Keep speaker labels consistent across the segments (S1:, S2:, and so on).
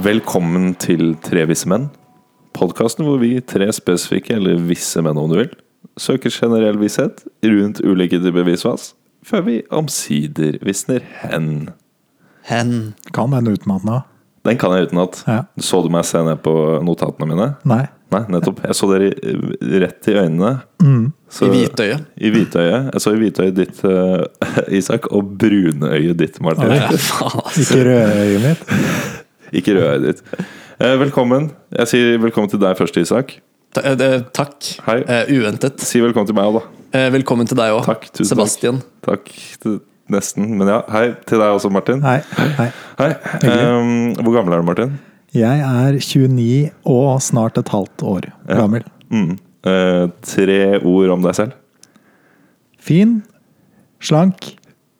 S1: Velkommen til Tre visse menn. Podkasten hvor vi tre spesifikke, eller visse menn om du vil, søker generell visshet rundt ulike typer visvas, før vi omsider visner hen.
S2: Hen.
S3: Kan hende utmanna.
S1: Den kan jeg utenat.
S3: Ja.
S1: Så du meg se ned på notatene mine?
S3: Nei.
S1: Nei, nettopp. Jeg så dere i- rett i øynene. Så-
S2: I hvitøyet.
S1: I hvitøyet. Jeg så i hvitøyet ditt, eh, Isak, og brunøyet ditt, Martin.
S3: Oi. Ikke rødøyet mitt.
S1: Ikke rødøyet ditt. Eh, Velkommen. Jeg sier velkommen til deg først, Isak.
S2: Ta- eh, eh, Takk.
S1: Hei.
S2: Eh, uventet.
S1: Si velkommen til meg òg, da.
S2: Eh, velkommen til deg òg,
S1: Takk, tusen
S2: Sebastian.
S1: Takk. til- Nesten. Men ja, hei til deg også, Martin.
S3: Nei. Nei.
S1: Hei. Eh, hvor gammel er du, Martin?
S3: Jeg er 29 og snart et halvt år gammel.
S1: Mm. Eh, tre ord om deg selv.
S3: Fin, slank,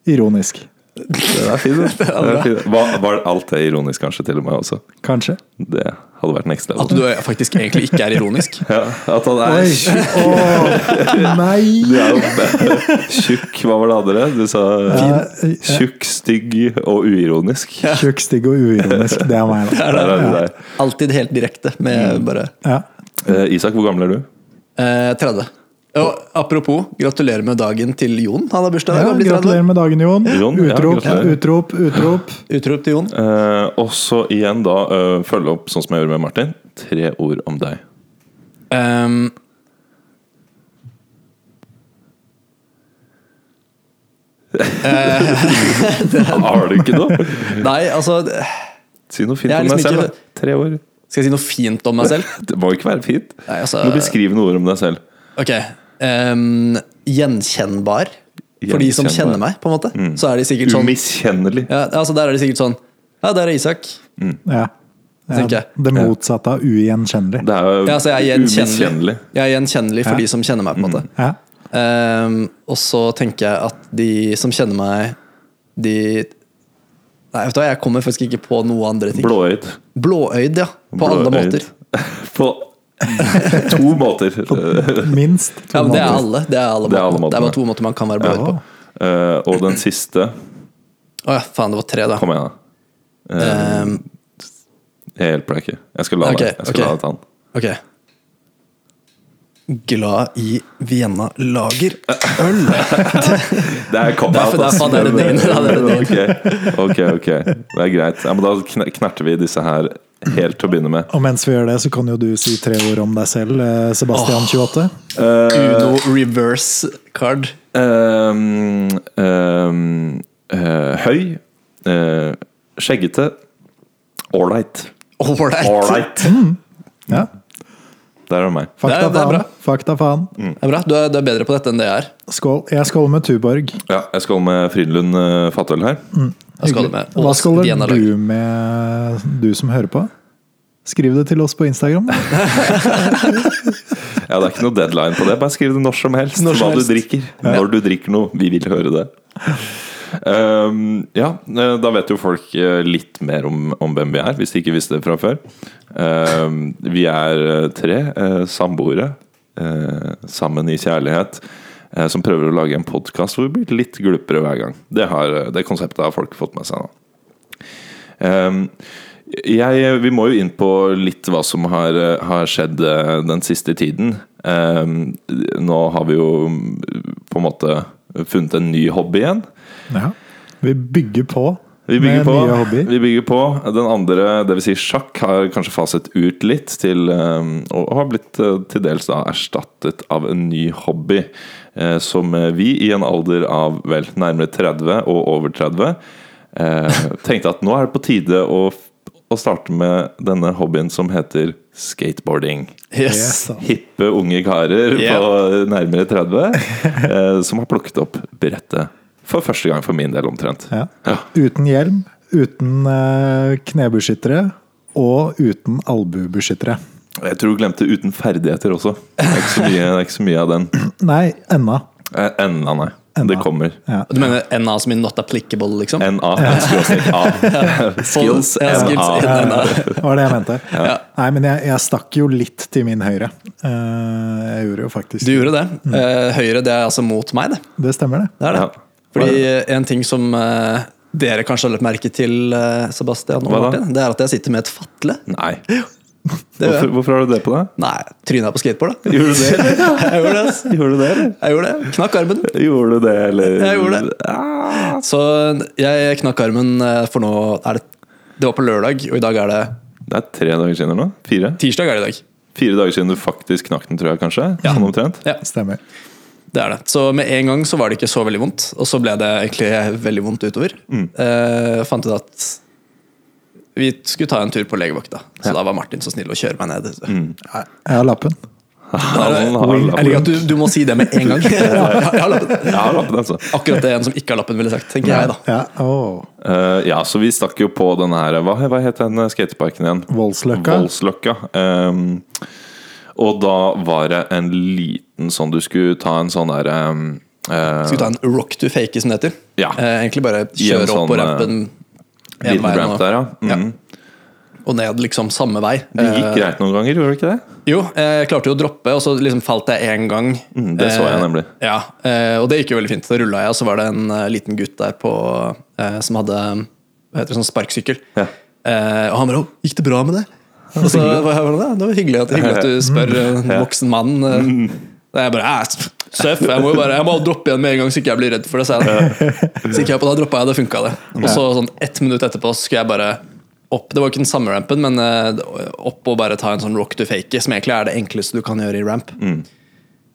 S3: ironisk.
S1: Den er fin, den. Den er fin. Hva, var alt det ironisk, kanskje, til og med også?
S3: Kanskje.
S1: Det hadde vært next level.
S2: At du er- faktisk egentlig ikke er ironisk.
S1: Ja, at han er
S3: Oi!
S1: tjukk.
S3: Å, nei!
S1: Du er jo tjukk. Hva var det andre? Du sa
S3: Fin.
S1: tjukk, stygg og uironisk.
S3: Tjukk, stygg og uironisk. Det er meg, da.
S1: Der er det Mm. der.
S2: Alltid helt direkte med bare
S3: Ja.
S1: Eh, Isak, hvor gammel er du?
S2: eh, 30. Og apropos, gratulerer med dagen til Jon. Han har bursdag i
S3: Ja,
S2: dag. han blir 30.
S3: gratulerer med dagen, Jon.
S1: Jon, ja,
S3: Utrop,
S1: gratulerer.
S3: utrop, utrop.
S2: Utrop til Jon.
S1: Eh, og så igjen da eh, følge opp sånn som jeg gjorde med Martin. Tre ord om deg.
S2: Ehm.
S1: Har du ikke noe?
S2: nei, altså det-
S1: Si noe fint
S2: Jeg er
S1: om
S2: liksom
S1: deg selv.
S2: ikke-
S1: da. Tre ord.
S2: Skal jeg si noe fint om meg selv?
S1: Det må ikke være fint. Du må
S2: Nei, altså
S1: beskrive noe ord om deg selv.
S2: Ok. ehm, gjenkjennbar. For de som
S1: Gjenkjennbar. Mm.
S2: kjenner meg, på en måte. Så er de sikkert sånn
S1: Umiskjennelig.
S2: Ja, altså Der er det sikkert sånn Ja, der er Isak.
S3: Ja.
S2: Tenker jeg.
S3: Det motsatte av ugjenkjennelig.
S1: Det er jo
S2: Ja, altså jeg er gjenkjennelig.
S1: umiskjennelig.
S2: Jeg er gjenkjennelig for
S3: Ja.
S2: de som kjenner meg. på en måte
S1: Mm.
S3: Ja.
S2: Ehm, Og så tenker jeg at de som kjenner meg, de Nei, vet du hva, jeg kommer faktisk ikke på noe andre ting.
S1: Blåøyd.
S2: Blåøyd, ja. På alle
S1: Blåøyd.
S2: måter.
S1: På to måter.
S3: Minst. to
S2: Ja, men Det er
S3: måneder.
S2: alle. Det er, alle
S1: Det er alle
S2: måter. det er
S1: måtene.
S2: bare to måter man kan være blåøyd på.
S3: Ja.
S1: Eh, og den siste
S2: Å ja, faen, det var tre, da.
S1: Kom igjen, da. Eh,
S2: Ehm,
S1: jeg hjelper deg ikke. Jeg skal la
S2: Ok,
S1: deg jeg skal
S2: ok.
S1: la deg ta den.
S2: ok. Glad i Vienna lager øl.
S1: Det er
S2: Derfor-
S1: cop-out. ass.
S2: derfor er det din, da, det er det
S1: Ok, ok, ok. Det er greit. Ja, men da kn- knerter vi disse her helt til å begynne med.
S3: Og mens vi gjør det, så kan jo du si tre ord om deg selv, eh, Sebastian 28.
S1: Eh,
S2: Uno reverse card.
S1: Ehm, ehm, eh, høy. eh, skjeggete. Ålreit.
S2: Ålreit.
S1: Ålreit.
S3: Ja.
S1: Der er meg.
S3: Fakta
S2: Det er- det er bra. Mm.
S3: faen. Fakta faen.
S2: Det er bra. Du er, du er bedre på dette enn det jeg er.
S3: Skål. Jeg skåler med Tuborg.
S1: Ja, jeg skal med Fridlund eh, Fatøl her.
S2: Jeg skåler
S3: Hyggelig.
S2: med
S3: Hva
S2: Ås Vienna
S3: skåler
S2: Lager.
S3: du med, du som hører på? Skriv det til oss på Instagram.
S1: Ja, Det er ikke noe deadline på det. Bare skriv det når som helst.
S2: Når som
S1: hva
S2: helst.
S1: du drikker. Når du drikker noe. Vi vil høre det. Ehm, ja, eh, da vet jo folk eh, litt mer om, om hvem vi er, hvis de ikke visste det fra før. Ehm, vi er eh, tre eh, samboere eh, sammen i kjærlighet eh, som prøver å lage en podkast hvor vi blir litt glupere hver gang. Det, har, eh, det konseptet har folk fått med seg nå. Ehm, jeg, vi må jo inn på litt hva som har, har skjedd eh, den siste tiden. Ehm, nå har vi jo mm, på en måte funnet en ny hobby igjen.
S3: Ja. Vi bygger på
S1: Vi bygger,
S3: med nye
S1: på,
S3: hobbyer.
S1: vi bygger på. Den andre, dvs. Si sjakk, har kanskje faset ut litt til ehm, Og og har blitt eh, til dels da erstattet av en ny hobby. eh, Som eh, vi, i en alder av vel nærmere 30 og over 30, eh, tenkte at nå er det på tide å, f- å starte med denne hobbyen som heter skateboarding.
S2: Yes.
S3: Yes, da.
S1: Hippe unge karer
S2: Ja.
S1: på nærmere 30 eh, som har plukket opp brettet. For første gang for min del, omtrent.
S3: Ja. Uten hjelm, uten eh, knebeskyttere og uten albuebeskyttere.
S1: Jeg tror du glemte uten ferdigheter også. Det er ikke så mye, det er ikke så mye av den.
S3: Nei, ennå.
S1: Eh, Enda, nei. Det kommer.
S3: Ja.
S2: Du mener NA som in not applicable, liksom?
S1: NA. skråstrek A. Skills
S2: Ja, skills
S1: NA.
S2: in NA.
S3: Det var det jeg mente. Nei, men jeg, jeg stakk jo litt til min høyre. Eh, jeg gjorde jo faktisk
S2: Du gjorde det.
S3: Mm.
S2: Eh, Høyre, det er altså mot meg, det.
S3: Det stemmer, det.
S2: det, er det.
S1: Ja.
S2: Fordi eh, en ting som eh, dere kanskje har lagt merke til, eh, Sebastian og
S1: Hva da?
S2: Martin, det er at jeg sitter med et fatle.
S1: Nei.
S2: gjør jeg.
S1: Hvorfor, hvorfor har du det på deg?
S2: Nei, tryna på skateboard, da.
S1: Gjorde du det?
S2: Jeg gjorde det, ass.
S1: Gjorde du det, eller?
S2: Jeg gjorde det. Knakk armen.
S1: Gjorde du det, eller?
S2: Jeg gjorde det.
S1: Ah.
S2: Så jeg knakk armen, eh, for nå er det Det var på lørdag, og i dag er det
S1: Det er tre dager siden eller noe? Fire?
S2: Tirsdag er det i dag.
S1: Fire dager siden du faktisk knakk den, tror jeg kanskje?
S2: Ja.
S1: Sånn omtrent?
S2: Ja,
S3: Stemmer.
S2: det er det. Så med en gang så var det ikke så veldig vondt, og så ble det egentlig veldig vondt utover.
S1: Mm.
S2: Eh, jeg fant ut at vi skulle ta en tur på legevakta, så da var Martin så snill å kjøre meg ned.
S1: Mm.
S3: Nei, Jeg har lappen.
S1: Han har
S2: Jeg
S3: Wing-
S1: lappen.
S2: liker at du, du må si det med en gang. Ja, jeg har lappen.
S1: Jeg har lappen, altså.
S2: Akkurat det en som ikke har lappen, ville sagt, tenker jeg da.
S3: Ja, åh.
S1: Eh, ja, så vi stakk jo på denne her Hva, hva het den eh, skateparken igjen?
S3: Voldsløkka.
S1: Voldsløkka. Ehm, og da var det en liten sånn Du skulle ta en sånn eh, derre
S2: Skal vi ta en rock to fake, som det heter?
S1: Ja.
S2: Eh, egentlig bare
S1: I en
S2: kjøre opp på
S1: sånn, eh,
S2: rampen en
S1: Liten
S2: vei
S1: ramp
S2: og,
S1: der, ja. Mm.
S2: og ned liksom samme vei.
S1: Det gikk
S2: Eh,
S1: greit noen ganger, gjorde det ikke det?
S2: Jo, eh, jeg klarte jo å droppe, og så liksom falt jeg én gang.
S1: Mm, det så jeg
S2: Eh,
S1: nemlig.
S2: Ja, eh, Og det gikk jo veldig fint. Så rulla jeg, og så var det en eh, liten gutt der på, eh, som hadde hva heter det, sånn sparkesykkel.
S1: Ja.
S2: Eh, og han bare 'Å, gikk det bra med det?' Og så var jeg bare, «Ja, Det var hyggelig at, hyggelig at du spør eh, en voksen mann. eh.» Og jeg bare «Æ, Søff, jeg må jo bare jeg må droppe igjen med en gang, så ikke jeg blir redd for det. Så jeg, så gikk jeg opp, og da droppa jeg, og det funka det. Og så sånn ett minutt etterpå så skulle jeg bare opp. Det var ikke den samme rampen, men eh, opp og bare ta en sånn rock to fake, som egentlig er det enkleste du kan gjøre i ramp.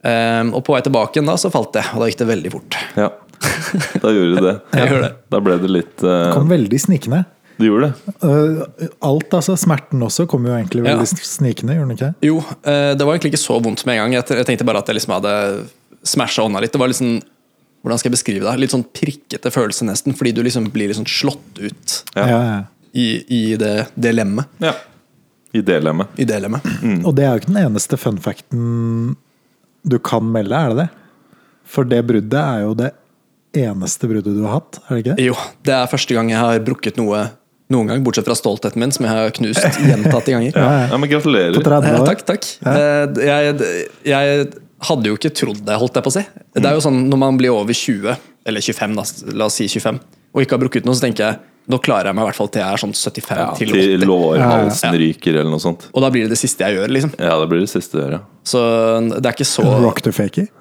S2: Eh, og på vei tilbake igjen da, så falt jeg, og da gikk det veldig fort.
S1: Ja. Da gjorde du det.
S2: Jeg gjorde det.
S1: Da ble det litt eh,
S3: Kom veldig snikende.
S1: Du gjorde det?
S3: Øh, Alt, altså. Smerten også kom jo egentlig
S2: Ja.
S3: veldig snikende, gjorde den ikke det?
S2: Jo, eh, det var egentlig ikke så vondt med en gang. Jeg te- Jeg tenkte bare at jeg liksom hadde smasha hånda litt. Det var litt sånn, hvordan skal jeg beskrive det? Litt sånn prikkete følelse nesten, fordi du liksom blir liksom slått ut
S1: Ja.
S3: Ja, ja.
S2: i, i det dilemmet.
S1: Ja. I dilemmet.
S2: I det lemmet.
S1: Mm.
S3: Og det er jo ikke den eneste fun facten du kan melde, er det det? For det bruddet er jo det eneste bruddet du har hatt, er det ikke det?
S2: Jo, det er første gang jeg har brukket noe noen gang, bortsett fra stoltheten min, som jeg har knust gjentatte ganger.
S1: Ja,
S3: Ja, ja.
S1: ja men
S3: På
S1: gratulerer.
S3: 30
S2: Eh,
S3: år.
S2: Takk, takk. Eh, Jeg, jeg hadde jo ikke trodd det, holdt jeg på å si. Det er jo sånn når man blir over 20, eller 25, da, la oss si 25, og ikke har brukket noe, så tenker jeg nå klarer jeg meg i hvert fall til jeg er sånn 75
S1: Ja,
S2: til
S1: til
S2: 80.
S1: lårhalsen ryker eller noe sånt.
S2: Og da blir det det siste jeg gjør, liksom.
S1: Ja, det blir det siste du gjør, ja.
S2: Så det er ikke så
S3: Rock to fakey.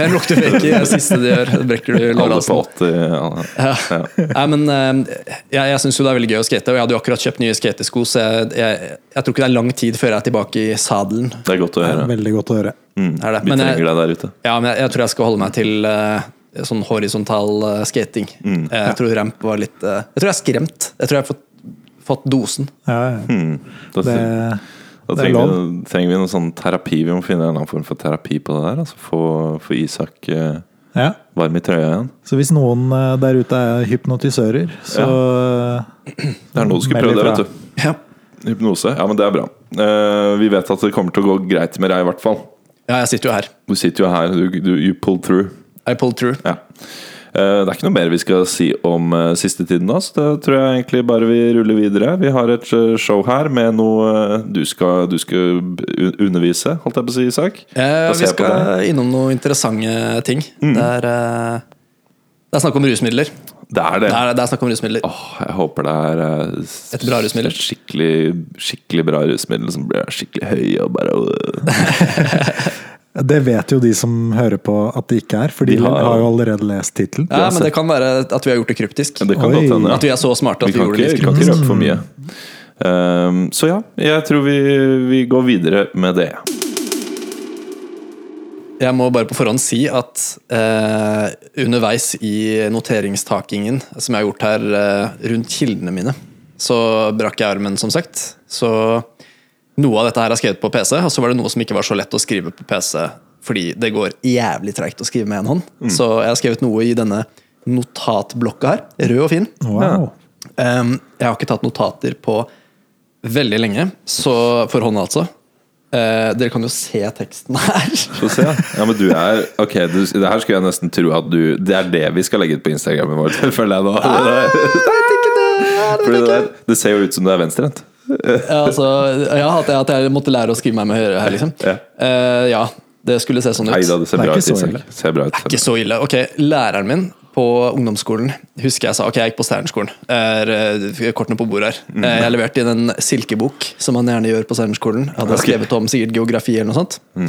S2: Jeg lukter fake i det siste du gjør. Brekker du
S1: Alle på
S2: lårhalsen.
S1: 80 ja.
S2: Ja. Nei, men eh, jeg, jeg syns jo det er veldig gøy å skate, og jeg hadde jo akkurat kjøpt nye skatesko, så jeg, jeg, jeg tror ikke det er lang tid før jeg er tilbake i sadelen.
S1: Det er godt å høre.
S3: Veldig godt å høre.
S1: Mm.
S2: Er det.
S1: Vi
S2: Men jeg-
S1: trenger deg der ute.
S2: Ja, men jeg, jeg tror jeg skal holde meg til eh, sånn horisontal eh, skating.
S1: Mm.
S2: Eh, jeg tror ramp var litt eh, Jeg tror jeg er skremt. Jeg tror jeg har fått, fått dosen.
S3: Ja, ja.
S1: Mm. Da,
S3: Det,
S1: da
S3: det er
S1: trenger, vi, trenger vi noen sånn terapi. Vi må finne en eller annen form for terapi på det der. Altså få, få Isak eh,
S3: ja.
S1: varm i trøya igjen.
S3: Så hvis noen eh, der ute er hypnotisører, så eh,
S1: Det er noe du skulle
S3: Meld
S1: prøve, det,
S3: ifra.
S1: vet du.
S2: Ja.
S1: Hypnose. Ja, men det er bra. Eh, vi vet at det kommer til å gå greit med deg, i hvert fall.
S2: jeg sitter jo her.
S1: Du sitter jo her. Du, du, you pulled through.
S2: I pulled through.
S1: Ja. Eh, Det er ikke noe mer vi skal si om eh, siste tiden. Da. Så det tror jeg egentlig bare vi ruller videre. Vi har et eh, show her med noe eh, du skal, du skal b- un- undervise, holdt jeg på å si, Isak.
S2: Eh,
S1: Da
S2: vi
S1: ser jeg på Mm.
S2: skal innom noen interessante ting. Det, er, eh, det er snakk om rusmidler.
S1: Det er det.
S2: Det er, det er snakk om rusmidler.
S1: Åh, jeg håper det er eh, s-
S2: Et bra rusmiddel.
S1: Et skikkelig, skikkelig bra rusmiddel som blir skikkelig høy og bare øh.
S3: Det vet jo de som hører på at det ikke er, for de
S1: De har-
S3: har, jo allerede lest tittelen.
S2: Ja, men det kan være at vi har gjort det kryptisk.
S1: Men Det kan
S3: Oi.
S1: godt hende.
S2: At vi er så smarte
S1: Vi
S2: at vi,
S1: kan
S2: gjorde
S1: ikke,
S2: det
S1: vi
S2: litt
S1: kan
S2: kryptisk.
S1: ikke røpe for mye. Ehm, så ja, jeg tror vi, vi går videre med det.
S2: Jeg må bare på forhånd si at eh, underveis i noteringsstakingen som jeg har gjort her eh, rundt kildene mine, så brakk jeg armen, som sagt. Så noe av dette her er skrevet på PC, og så var det noe som ikke var så lett å skrive på PC fordi det går jævlig treigt å skrive med en hånd. Så jeg har skrevet noe i denne notatblokka her, rød og fin.
S3: Wow.
S2: Um, jeg har ikke tatt notater på veldig lenge, så for hånda altså. Eh, dere kan jo se teksten her.
S1: Få se. Ja, men du er Ok, du, det her skulle jeg nesten tro at du Det er det vi skal legge ut på Instagrammen vår, føler jeg nå.
S2: Ah,
S1: Det der- Fordi det, der, det ser jo ut som du er venstrehendt.
S2: Ja, altså, ja at, jeg, at jeg måtte lære å skrive meg med høyre her, liksom.
S1: Ja.
S2: Eh, ja, det skulle se sånn ut.
S1: Nei da, det ser
S3: Det er
S1: bra
S3: ikke
S1: ut.
S3: så
S1: Isak.
S3: ille.
S1: Ser bra ut. ser
S2: Ikke så ille. Ok, læreren min på ungdomsskolen husker jeg sa ok, jeg gikk på Steinerskolen. Er, eh, Kortene på bordet her.
S1: Mm.
S2: Eh, Jeg leverte inn en silkebok, som man gjerne gjør på Steinerskolen. Jeg hadde
S1: Ok. Mm.
S2: skrevet om sikkert geografi eller noe sånt. Og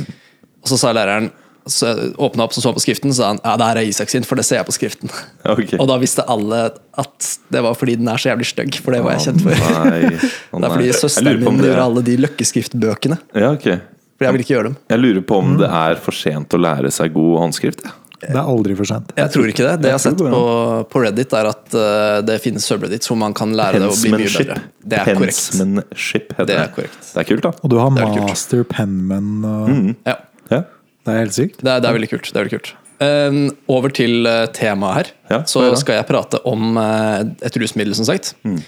S2: så sa læreren så åpna opp og så på skriften, så sa han ja, det her er Isak sin, for det ser jeg på skriften.
S1: Ok.
S2: Og da visste alle at det var fordi den er så jævlig stygg, for det var jeg kjent for.
S1: Å, nei. Å,
S2: det er
S1: nei.
S2: fordi
S1: Jeg
S2: søsteren
S1: lurer på om
S2: min
S1: det-
S2: gjorde alle de løkkeskriftbøkene,
S1: Ja, ok.
S2: for jeg ville ikke gjøre dem.
S1: Jeg lurer på om
S2: Mm.
S1: det er for sent å lære seg god håndskrift. jeg.
S3: Det er aldri for sent.
S2: Jeg tror ikke det. Det jeg har
S1: tror
S2: sett
S1: det går
S2: på, på Reddit, er at eh, det finnes subreddits hvor man kan lære det å bli mye
S1: Pensmanship.
S2: bedre. Det er korrekt.
S1: Pensmanship heter
S2: Det
S1: det.
S2: er korrekt.
S1: Det er kult, da.
S3: Og du har
S2: Det er kult. Mm.
S3: master penman og
S2: Ja,
S1: Ja.
S3: Det er helt sykt.
S2: det er, det er veldig kult. Det er veldig kult. Eh, over til eh, temaet her.
S1: Ja,
S2: så
S1: hør da.
S2: skal jeg prate om eh, et rusmiddel, som sagt. Eh, det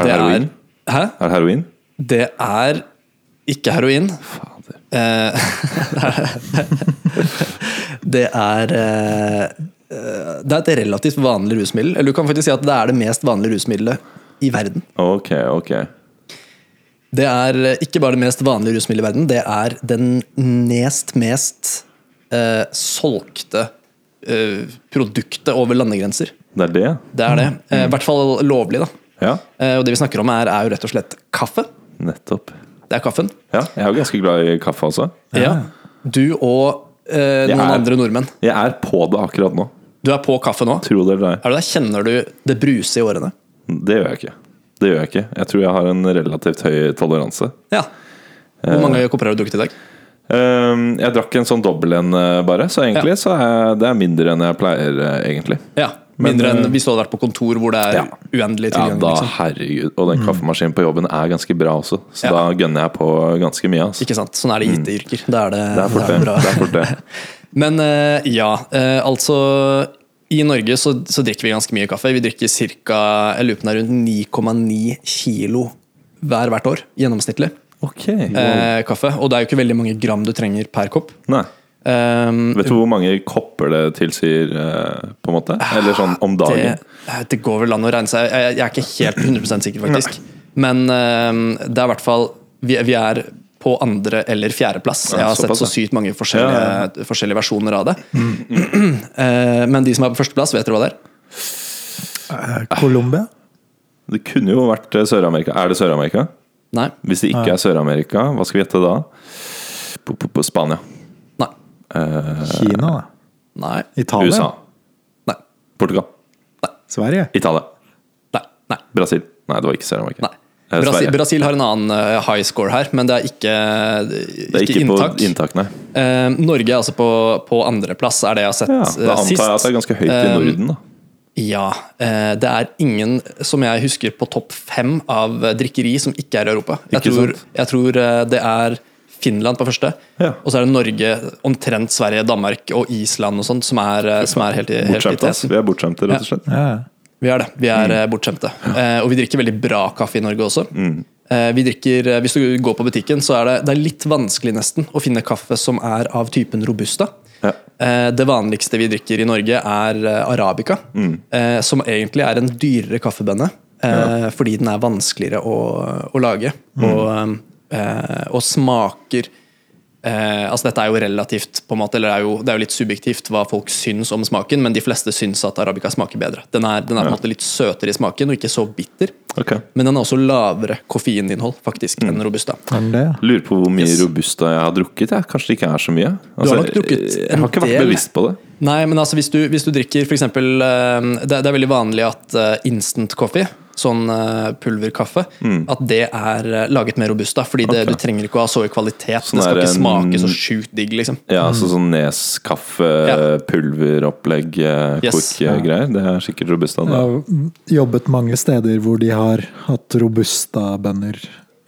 S1: Mm. heroin?
S2: Er, hæ?
S1: Er det heroin?
S2: Det er ikke heroin.
S1: Fader.
S2: Eh, det er eh, eh, Det er et relativt vanlig rusmiddel. Eller du kan faktisk si at det er det mest vanlige rusmiddelet i verden.
S1: Ok, ok.
S2: Det er eh, ikke bare det mest vanlige rusmiddelet i verden, det er den nest mest eh, solgte eh, produktet over landegrenser.
S1: Det er det?
S2: Det er det. Eh, I hvert fall lovlig, da.
S1: Ja,
S2: Eh, og det vi snakker om her, er jo rett og slett kaffe.
S1: nettopp.
S2: Det er kaffen.
S1: Ja, jeg er jo ganske glad i kaffe også.
S2: Ja. Du og eh,
S1: Jeg
S2: noen
S1: er-
S2: andre nordmenn.
S1: Jeg er på det akkurat nå.
S2: Du er på kaffe nå.
S1: Tro det eller ei.
S2: Er du der? Kjenner du det bruse i årene?
S1: Det gjør jeg ikke. Det gjør jeg ikke. Jeg tror jeg har en relativt høy toleranse.
S2: Ja. Hvor
S1: Eh.
S2: mange kopper har du drukket i dag?
S1: Ehm, Jeg drakk en sånn dobbel en, eh, bare, så egentlig så er jeg, det er mindre enn jeg pleier, eh, egentlig.
S2: Ja,
S1: Men,
S2: Mindre enn
S1: eh,
S2: hvis du hadde vært på kontor hvor det er
S1: Ja.
S2: uendelig
S1: Ja,
S2: tilgang.
S1: da,
S2: liksom.
S1: herregud. Og den kaffemaskinen på jobben er ganske bra også, så
S2: Ja.
S1: da gønner jeg på ganske mye. Altså.
S2: Ikke sant? Sånn er det i IT-yrker. Da er det,
S1: Det er
S2: da
S1: fort
S2: er
S1: det.
S2: det bra.
S1: det, er fort det.
S2: Men eh, ja, eh, altså I Norge så, så drikker vi ganske mye kaffe. Vi drikker ca. rundt 9,9 kilo hver hvert år, gjennomsnittlig,
S1: Ok.
S2: eh, kaffe. Og det er jo ikke veldig mange gram du trenger per kopp.
S1: Nei.
S2: Um,
S1: Vet du hvor mange kopper det tilsier, eh, på en måte? Eller sånn om dagen?
S2: Det, det går vel an å regne seg Jeg, jeg er ikke helt 100 sikker, faktisk. Men eh, det er i hvert fall vi, vi er på andre- eller fjerdeplass. Jeg har sett
S1: såpass,
S2: så sykt mange forskjellige,
S1: Ja, Mm,
S2: forskjellige versjoner av det. Eh, Men de som er på førsteplass, vet dere hva det er?
S3: Eh, Colombia?
S1: Det kunne jo vært eh, Sør-Amerika. Er det Sør-Amerika?
S2: Nei.
S1: Hvis det ikke er Sør-Amerika, hva skal vi gjette da? På, på, på Spania.
S2: Nei.
S3: Kina, da?
S2: Nei.
S3: Italia?
S1: USA.
S2: Nei.
S1: Portugal.
S3: Sverige?
S1: Italia.
S2: Nei. Nei.
S1: Brasil. Nei, det var ikke Sør-Amerika.
S2: Nei.
S1: Eh,
S2: Brasil,
S1: Sverige.
S2: Brasil har en annen eh, high score her, men det er ikke,
S1: Det er ikke
S2: inntak.
S1: på inntak, nei.
S2: Eh, Norge er altså på, på andreplass, er det jeg har sett
S1: Ja,
S2: eh,
S1: da antar
S2: sist.
S1: jeg at det er ganske høyt i
S2: Eh,
S1: Norden, da.
S2: Ja. eh, Det er ingen som jeg husker på topp fem av eh, drikkeri som ikke er i Europa. Jeg
S1: Ikke
S2: tror,
S1: sant?
S2: jeg tror eh, det er Finland på første,
S1: Ja.
S2: og så er det Norge, omtrent Sverige, Danmark og Island og sånt, som er, eh, som er helt i, helt i
S1: Bortskjemte, ass.
S2: teten.
S1: Vi er bortskjemte, rett og slett.
S3: Ja, ja.
S2: Vi er det. Vi er eh, bortskjemte. Eh, Og vi drikker veldig bra kaffe i Norge også. Eh, Vi drikker, eh, Hvis du går på butikken, så er det, det er litt vanskelig nesten å finne kaffe som er av typen robusta.
S1: Ja.
S2: Eh, Det vanligste vi drikker i Norge, er eh, arabica. eh, Som egentlig er en dyrere kaffebønne, eh, fordi den er vanskeligere å, å lage. Og, eh, og smaker eh, Altså, dette er jo relativt, på en måte, eller det er jo, det er jo litt subjektivt hva folk syns om smaken, men de fleste syns at arabica smaker bedre. Den er, den er på en måte litt søtere i smaken, og ikke så bitter.
S1: Ok.
S2: Men den har også lavere koffeininnhold faktisk
S1: Mm.
S2: enn robusta.
S3: Er den det? ja?
S1: Lurer på hvor mye
S2: Yes.
S1: robusta jeg har drukket. Jeg. Kanskje det ikke er så mye. Altså,
S2: nok drukket
S1: jeg
S2: en
S1: har ikke vært
S2: del.
S1: bevisst på det.
S2: Nei, men altså hvis du, hvis du drikker for eksempel eh, det, det er veldig vanlig at eh, instant coffee, sånn eh, pulverkaffe, at det er eh, laget med robusta. Fordi det,
S1: Mm. Ok.
S2: du trenger ikke å ha så høy kvalitet.
S1: Sånn
S2: det skal
S1: er
S2: ikke
S1: en-
S2: smake så sjukt digg, liksom.
S1: Ja, altså sånn neskaffe,
S2: Ja.
S1: pulveropplegg, eh,
S2: Yes.
S1: korkgreier. Det er sikkert robusta.
S3: Jeg
S1: Da.
S3: har jobbet mange steder hvor de har hatt robusta-bønner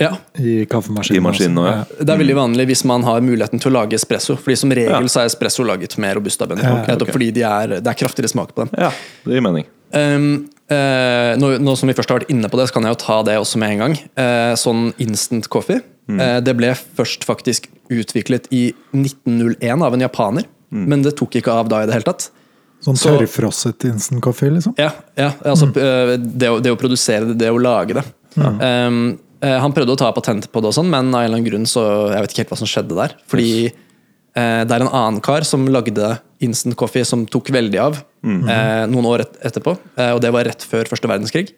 S2: Ja.
S3: i kaffemaskinen. altså.
S1: I maskinen også, ja.
S2: Det er veldig vanlig hvis man har muligheten til å lage espresso. Fordi som regel så er espresso laget med robusta-bønner.
S3: Ja, ok,
S2: nettopp
S1: ok.
S2: fordi de er, det er kraftigere smak på dem.
S1: Ja, det gir mening.
S2: Um, eh, nå, nå som vi først har vært inne på det, så kan jeg jo ta det også med en gang. Eh, sånn instant coffee.
S3: Mm.
S2: Eh, det ble først faktisk utviklet i 1901 av en japaner,
S3: Mm.
S2: men det tok ikke av da i det hele tatt.
S3: Sånn
S2: Så-
S3: tørrfrosset instant coffee, liksom.
S2: Ja, ja altså eh, det, å, det å produsere det, det å lage det. Um, eh, han prøvde å ta patent på det, og sånn, men av en eller annen grunn så jeg vet ikke helt hva som skjedde der. Fordi eh, det er en annen kar som lagde instant coffee som tok veldig av eh, noen år et etterpå. Eh, og det var rett før første verdenskrig.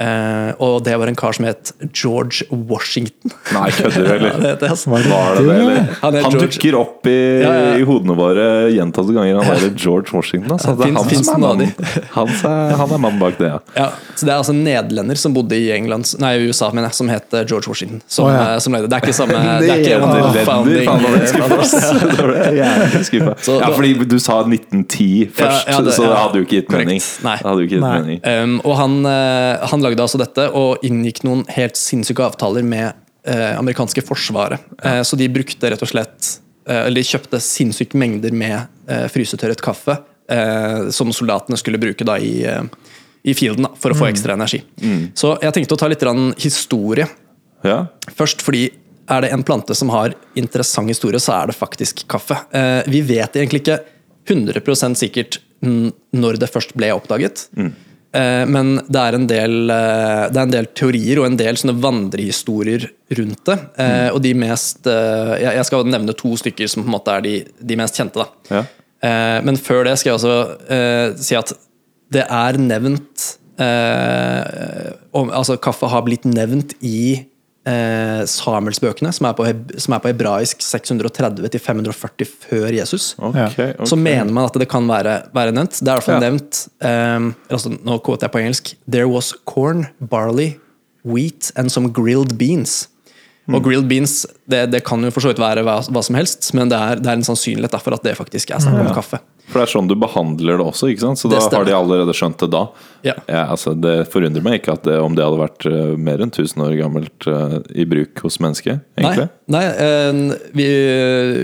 S2: Eh, og det var en kar som het George Washington.
S1: Nei, kødder du,
S2: Ja, det
S1: eller?
S2: heter det, altså.
S3: Hva
S1: Var det det, eller?
S2: Han er
S1: Han
S2: George-
S1: dukker opp i,
S2: ja, ja.
S1: i hodene våre gjentatte ganger. Han er George Washington. Altså.
S2: Ja,
S1: Det er han,
S2: finnes-
S1: som er
S2: finnes
S1: mannen. han, er- han er mannen bak det, ja.
S2: Ja, så Det er altså en nederlender som bodde i England, nei, i USA, mener jeg, som het eh, George Washington. Som,
S3: Å, ja.
S2: eh, som lagde. Det er ikke samme Det er
S3: Ja,
S1: Nederlender,
S2: ikke founding.
S1: faen, nå ble jeg skuffet, ass. Da ble jeg jævlig skuffet.
S2: Så-
S1: Ja, fordi du sa 1910 først,
S2: Ja, ja, det-
S1: så det
S2: ja.
S1: hadde jo ikke gitt
S2: Korrekt.
S1: mening.
S2: Nei.
S1: Det hadde jo ikke gitt
S3: Nei.
S1: mening.
S2: Um, og han, eh, han lagde altså dette og inngikk noen helt sinnssyke avtaler med eh, amerikanske forsvaret. Eh, så de brukte rett og slett eh, Eller de kjøpte sinnssyke mengder med eh, frysetørret kaffe eh, som soldatene skulle bruke da i, eh, i fielden da, for å få ekstra energi. Så jeg tenkte å ta litt grann historie.
S1: Ja.
S2: Først fordi er det en plante som har interessant historie, så er det faktisk kaffe. Eh, vi vet egentlig ikke 100 sikkert n- når det først ble oppdaget. Eh, men det er, en del, eh, det er en del teorier og en del sånne vandrehistorier rundt det. Eh, og de mest eh, Jeg jeg skal nevne to stykker som på en måte er de, de mest kjente. da.
S1: Ja.
S2: Eh, men før det skal jeg også eh, si at det er nevnt eh, om, Altså, kaffe har blitt nevnt i eh, Samuelsbøkene, som er på, heb- som er på hebraisk 630-540 før Jesus.
S1: Ok, ok.
S2: Så mener man at det kan være, være nevnt. Det er i hvert fall
S1: Ja.
S2: nevnt ehm, altså, Nå quoter jeg på engelsk. There was corn, barley, wheat and some grilled beans.
S1: Hmm.
S2: Og grilled beans det, det kan jo for så vidt være hva, hva som helst, men det er, det er en sannsynlighet da, for at det faktisk er snakk om kaffe.
S1: For det er sånn du behandler det også, ikke sant? så
S2: Det
S1: da har de
S2: stemmer.
S1: allerede skjønt det da.
S2: Ja.
S1: altså, det forundrer meg ikke at det, om det hadde vært eh, mer enn 1000 år gammelt eh, i bruk hos mennesket, egentlig.
S2: Nei, nei eh, vi,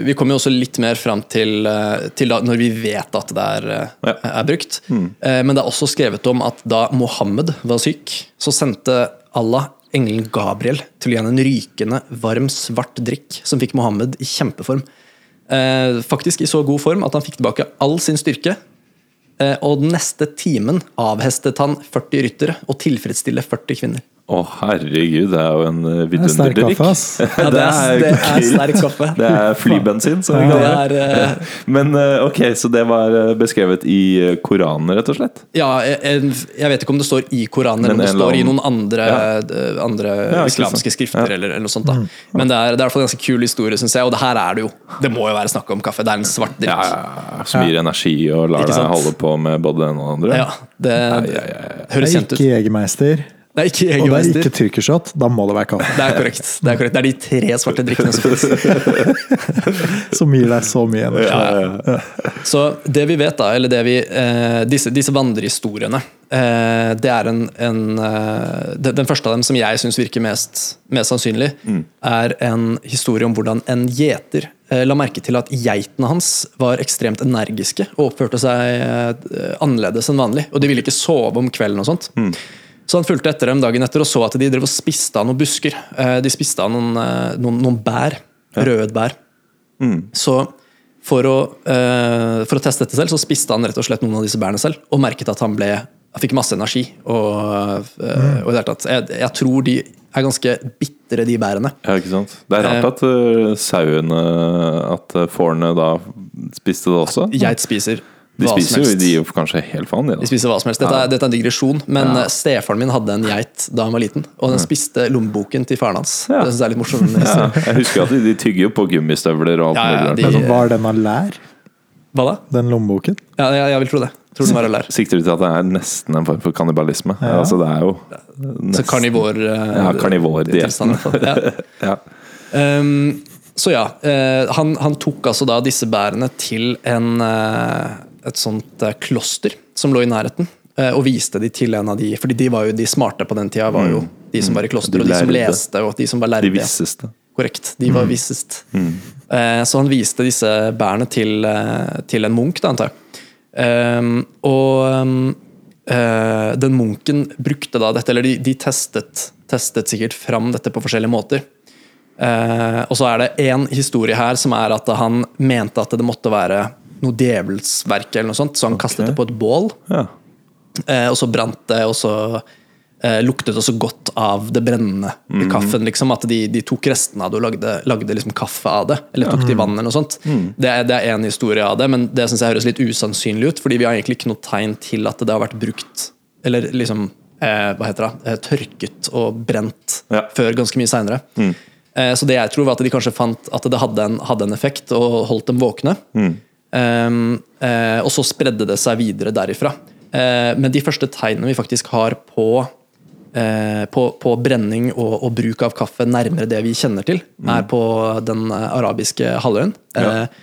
S2: vi kommer jo også litt mer fram til, eh, til da, når vi vet at det er, eh,
S1: Ja. Mm.
S2: er brukt. Eh, Men det er også skrevet om at da Mohammed var syk, så sendte Allah engelen Gabriel til å gi ham en rykende, varm, svart drikk som fikk Mohammed i kjempeform. Eh, Faktisk i så god form at han fikk tilbake all sin styrke. eh, Og den neste timen avhestet han 40 ryttere og tilfredsstille 40 kvinner.
S1: Å, herregud, det er jo en eh,
S3: Det er sterk
S1: vidunderlig
S3: kaffe,
S1: drikk.
S3: ass.
S2: Ja, det er, det er
S1: kult.
S2: sterk kaffe.
S1: Det er flybensin, som vi
S2: Det
S1: kaller det.
S2: er, eh,
S1: Men eh, ok, så det var eh, beskrevet i eh, Koranen, rett og slett?
S2: Ja, en, jeg vet ikke om det står i Koranen,
S1: Men
S2: eller om det
S1: en eller
S2: står i
S1: annen-
S2: noen andre, eh, andre
S1: Ja, ikke
S2: islamiske
S1: sant.
S2: skrifter. Eller, eller noe sånt
S3: Mm.
S2: da. Men det er, det er i hvert fall en ganske kul historie, syns jeg. Og det her er det jo. Det må jo være snakk om kaffe. Det er en svart drikk.
S1: Ja, ja, ja, Som gir energi og lar
S2: Ikke
S1: deg
S2: sant?
S1: holde på med både det ene og det andre?
S2: Ja, det
S3: Det
S2: høres
S3: er
S2: kjent ut.
S3: ikke Jegermeister,
S2: Det er ikke
S3: og det er ikke
S2: Jegermeister.
S3: tyrkershot. Da må det være kaffe.
S2: Det er korrekt. Det er korrekt. Det er de tre svarte drikkene som finnes.
S3: Som gir deg så mye energi.
S2: Så det vi vet, da, eller det vi, eh, disse, disse vandrehistoriene eh, Det er en, en eh, de- Den første av dem som jeg syns virker mest, mest sannsynlig, er en historie om hvordan en gjeter eh, la merke til at geitene hans var ekstremt energiske og oppførte seg eh, annerledes enn vanlig. Og de ville ikke sove om kvelden og sånt. Så han fulgte etter dem dagen etter og så at de drev og spiste av noen busker. Eh, De spiste av noen, eh, noen, noen bær. Rødbær. Så for å, eh, for å teste dette selv, så spiste han rett og slett noen av disse bærene selv, og merket at han ble han fikk masse energi. Og, eh, og i det hele tatt, jeg, jeg tror de er ganske bitre, de bærene.
S1: Ja, ikke sant? Det er rart at eh, sauene, at eh, fårene da spiste det også.
S2: Geit spiser
S1: De
S2: hva som
S1: spiser jo,
S2: helst.
S1: de gir jo kanskje helt faen, de.
S2: De
S1: da.
S2: spiser hva som helst. Dette er, dette er en digresjon, men eh, stefaren min hadde en geit da han var liten, og den spiste lommeboken til faren hans.
S1: Mm. Ja.
S2: Det synes jeg er litt morsomt.
S1: Ja, jeg husker at de, de tygger jo på gummistøvler og alt
S2: Ja, ja,
S1: mulig rart.
S2: de-
S1: liksom.
S3: Men Var den av lær,
S2: Hva da?
S3: den lommeboken?
S2: Ja, jeg, jeg vil tro det. Tror den var lær.
S1: Sikter du til at det er nesten en form for kannibalisme? Altså, det er jo
S2: Så
S1: nesten
S2: karnivor... eh,
S1: ja, karnivordiett.
S2: tilstand, i hvert fall. Ja.
S1: Ja.
S2: Ehm, så ja, eh, han, han tok altså da disse bærene til en, eh, et sånt eh, kloster som lå i nærheten, eh, og viste de til en av de Fordi de var jo de smarte på den tida, var jo de som var i kloster,
S1: Mm. De
S2: og de som
S1: lærde.
S2: leste, og de som var
S1: De
S2: lærde.
S1: visseste.
S2: Korrekt. De var vissest. Eh, Så han viste disse bærene til, eh, til en munk, da, antar jeg. Ehm, Og ehm, eh, den munken brukte da dette, eller de, de testet, testet sikkert fram dette på forskjellige måter. Eh, og så er det én historie her som er at han mente at det måtte være noe djevelsverk, eller noe sånt, så han kastet det på et bål.
S1: Ja.
S2: Eh, og så brant det, og så eh, luktet også godt av det brennende i kaffen. liksom At de, de tok restene av det og lagde, lagde liksom kaffe av det. Eller tok det i vann eller noe sånt. Det, er, det er en historie av det, men det synes jeg høres litt usannsynlig ut. Fordi vi har egentlig ikke noe tegn til at det har vært brukt, eller liksom eh, hva heter det, eh, tørket og brent
S1: Ja.
S2: før ganske mye seinere.
S1: Mm.
S2: Eh, så det jeg tror, var at de kanskje fant at det hadde en, hadde en effekt og holdt dem våkne.
S1: Mm.
S2: Ehm, eh, og så spredde det seg videre derifra. Eh, men de første tegnene vi faktisk har på, eh, på, på brenning og, og bruk av kaffe nærmere det vi kjenner til, er på den eh, arabiske halvøyen.
S1: Mm. Ja.
S2: Eh,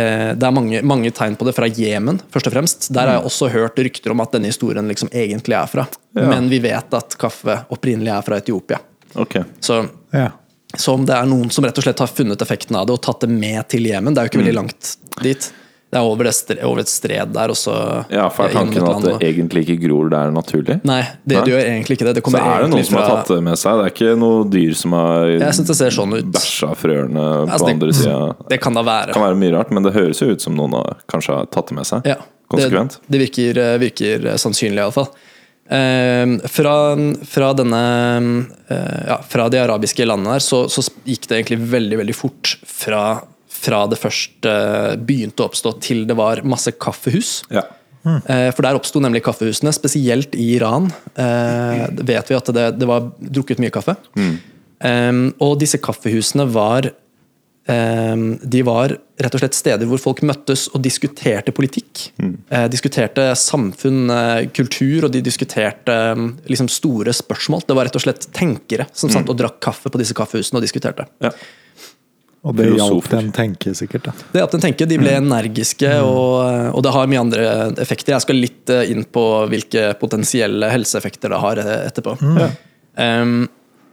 S2: eh, det er mange, mange tegn på det fra Jemen, først og fremst. Der
S1: Mm.
S2: har jeg også hørt rykter om at denne historien liksom egentlig er fra.
S1: Ja.
S2: Men vi vet at kaffe opprinnelig er fra Etiopia.
S1: Ok.
S2: Så
S3: Ja.
S2: så om det er noen som rett og slett har funnet effekten av det og tatt det med til Jemen. Det er jo ikke
S1: Mm.
S2: veldig langt dit. Det er over, det stre, over et stred der, og så
S1: Ja, for er
S2: gjennom et
S1: tanken at
S2: land,
S1: det
S2: og-
S1: egentlig ikke gror der naturlig?
S2: Nei, det,
S1: Nei.
S2: det gjør egentlig ikke det. det
S1: Så
S2: kommer
S1: er det
S2: egentlig
S1: noen som har
S2: fra-
S1: tatt det med seg? Det er ikke noe dyr som har
S2: Jeg syns det ser sånn ut.
S1: bæsja frøene på
S2: Altså, det-
S1: andre sida?
S2: Det kan da
S1: Det
S2: være.
S1: kan være mye rart, men det høres jo ut som noen har kanskje har tatt det med seg.
S2: Ja,
S1: Konsekvent.
S2: Det, det virker, eh, virker sannsynlig, iallfall. Uh, fra, fra denne eh, ja, Fra de arabiske landene her, så, så gikk det egentlig veldig veldig fort fra, fra det først eh, begynte å oppstå, til det var masse kaffehus.
S1: Ja.
S2: Eh, For der oppsto nemlig kaffehusene, spesielt i Iran. Eh, det vet vi at det, det var drukket mye kaffe. Eh, og disse kaffehusene var eh, De var rett og slett steder hvor folk møttes og diskuterte politikk. Eh, diskuterte samfunn, eh, kultur, og de diskuterte eh, liksom store spørsmål. Det var rett og slett tenkere som satt og drakk kaffe på disse kaffehusene og diskuterte.
S1: ja.
S3: Og det hjalp
S1: Filosofer.
S3: den tenke, sikkert. da.
S2: Det at den tenker, De ble energiske, og, og det har mye andre effekter. Jeg skal litt eh, inn på hvilke potensielle helseeffekter det har eh, etterpå. Ehm,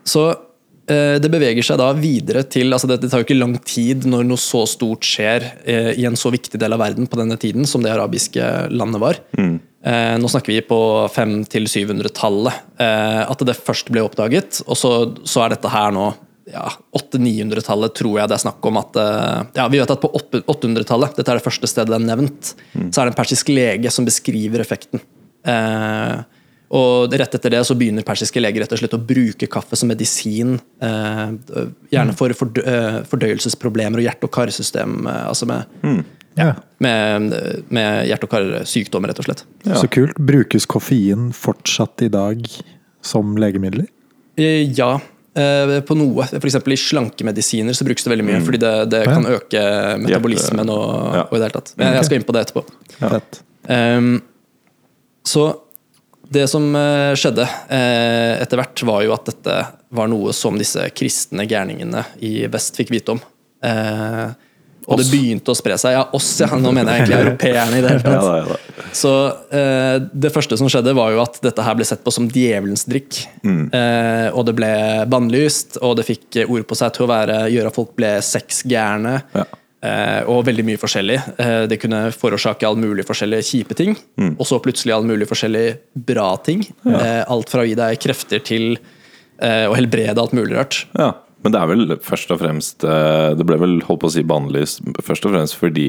S2: så eh, det beveger seg da videre til altså det, det tar jo ikke lang tid når noe så stort skjer eh, i en så viktig del av verden på denne tiden som det arabiske landet var. Eh, nå snakker vi på 500-700-tallet. eh, at det først ble oppdaget, og så, så er dette her nå ja, 800-900-tallet tror jeg det er snakk om at eh, ja, Vi vet at på opp- 800-tallet, dette er det første stedet det er nevnt, så er det en persisk lege som beskriver effekten. Eh, og rett etter det så begynner persiske leger rett og slett å bruke kaffe som medisin. eh, gjerne for fordø eh, fordøyelsesproblemer og hjerte- og karsystem, eh, altså med,
S3: Ja.
S2: med, med hjerte- og karsykdommer, rett og slett.
S3: Så kult. Brukes koffein fortsatt i dag som legemidler?
S2: Eh, Ja, eh, på noe. F.eks. i slankemedisiner så brukes det veldig mye, fordi det, det
S3: Ja.
S2: kan øke metabolismen og,
S1: Ja.
S2: og i det hele tatt. Men jeg skal inn på det etterpå.
S3: Fett.
S2: Ehm, så det som eh, skjedde eh, etter hvert, var jo at dette var noe som disse kristne gærningene i vest fikk vite om. Eh, og det begynte å spre seg. Ja, oss, ja. Nå mener jeg egentlig europeerne i det hele
S1: Ja,
S2: tatt.
S1: da, ja, da.
S2: Så eh, det første som skjedde, var jo at dette her ble sett på som djevelens drikk.
S1: Mm.
S2: Eh, og det ble bannlyst, og det fikk eh, ord på seg til å være, gjøre at folk ble sexgærne.
S1: Ja.
S2: Eh, og veldig mye forskjellig. Eh, det kunne forårsake all mulig forskjellige kjipe ting,
S1: Mm.
S2: og så plutselig all mulig forskjellige bra ting. Eh, alt fra å gi deg krefter til eh, å helbrede alt mulig rart.
S1: Ja. Men det er vel først og fremst eh, Det ble vel holdt på å si bannlyst først og fremst fordi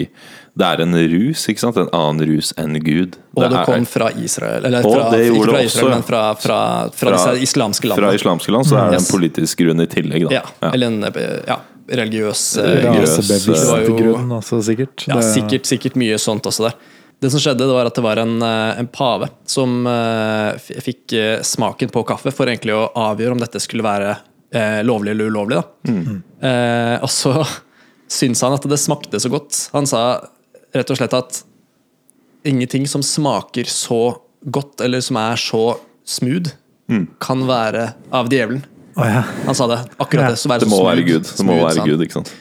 S1: det er en rus, ikke sant? En annen rus enn Gud.
S2: Og det,
S1: er-
S2: kom fra Israel. Eller
S1: Og
S2: fra,
S1: det
S2: ikke
S1: gjorde
S2: fra
S1: det også,
S2: Israel,
S1: ja.
S2: men fra, fra, fra, disse islamske landene.
S1: Fra islamske land, så er det en
S2: Yes.
S1: politisk grunn i tillegg, da.
S2: Ja, eller en eh, ja, religiøs eh,
S1: Religiøs, eh,
S3: Rasebevisst
S2: eh,
S3: til grunn, altså, sikkert.
S2: Ja,
S3: Det-
S2: sikkert, sikkert mye sånt også der. Det som skjedde, det var at det var en, eh, en pave som eh, f- fikk eh, smaken på kaffe for egentlig å avgjøre om dette skulle være eh, lovlig eller ulovlig.
S1: Mm.
S2: Da. Eh, og så syntes han at det smakte så godt. Han sa rett og slett at ingenting som smaker så godt, eller som er så smooth,
S1: Mm.
S2: kan være av djevelen.
S3: Å, ja.
S2: Han sa det. Akkurat det. Så være
S1: Det
S2: så
S1: må
S2: smooth,
S1: være Gud. Det må
S2: smooth, sa
S1: være
S2: han.
S1: Gud, ikke sant.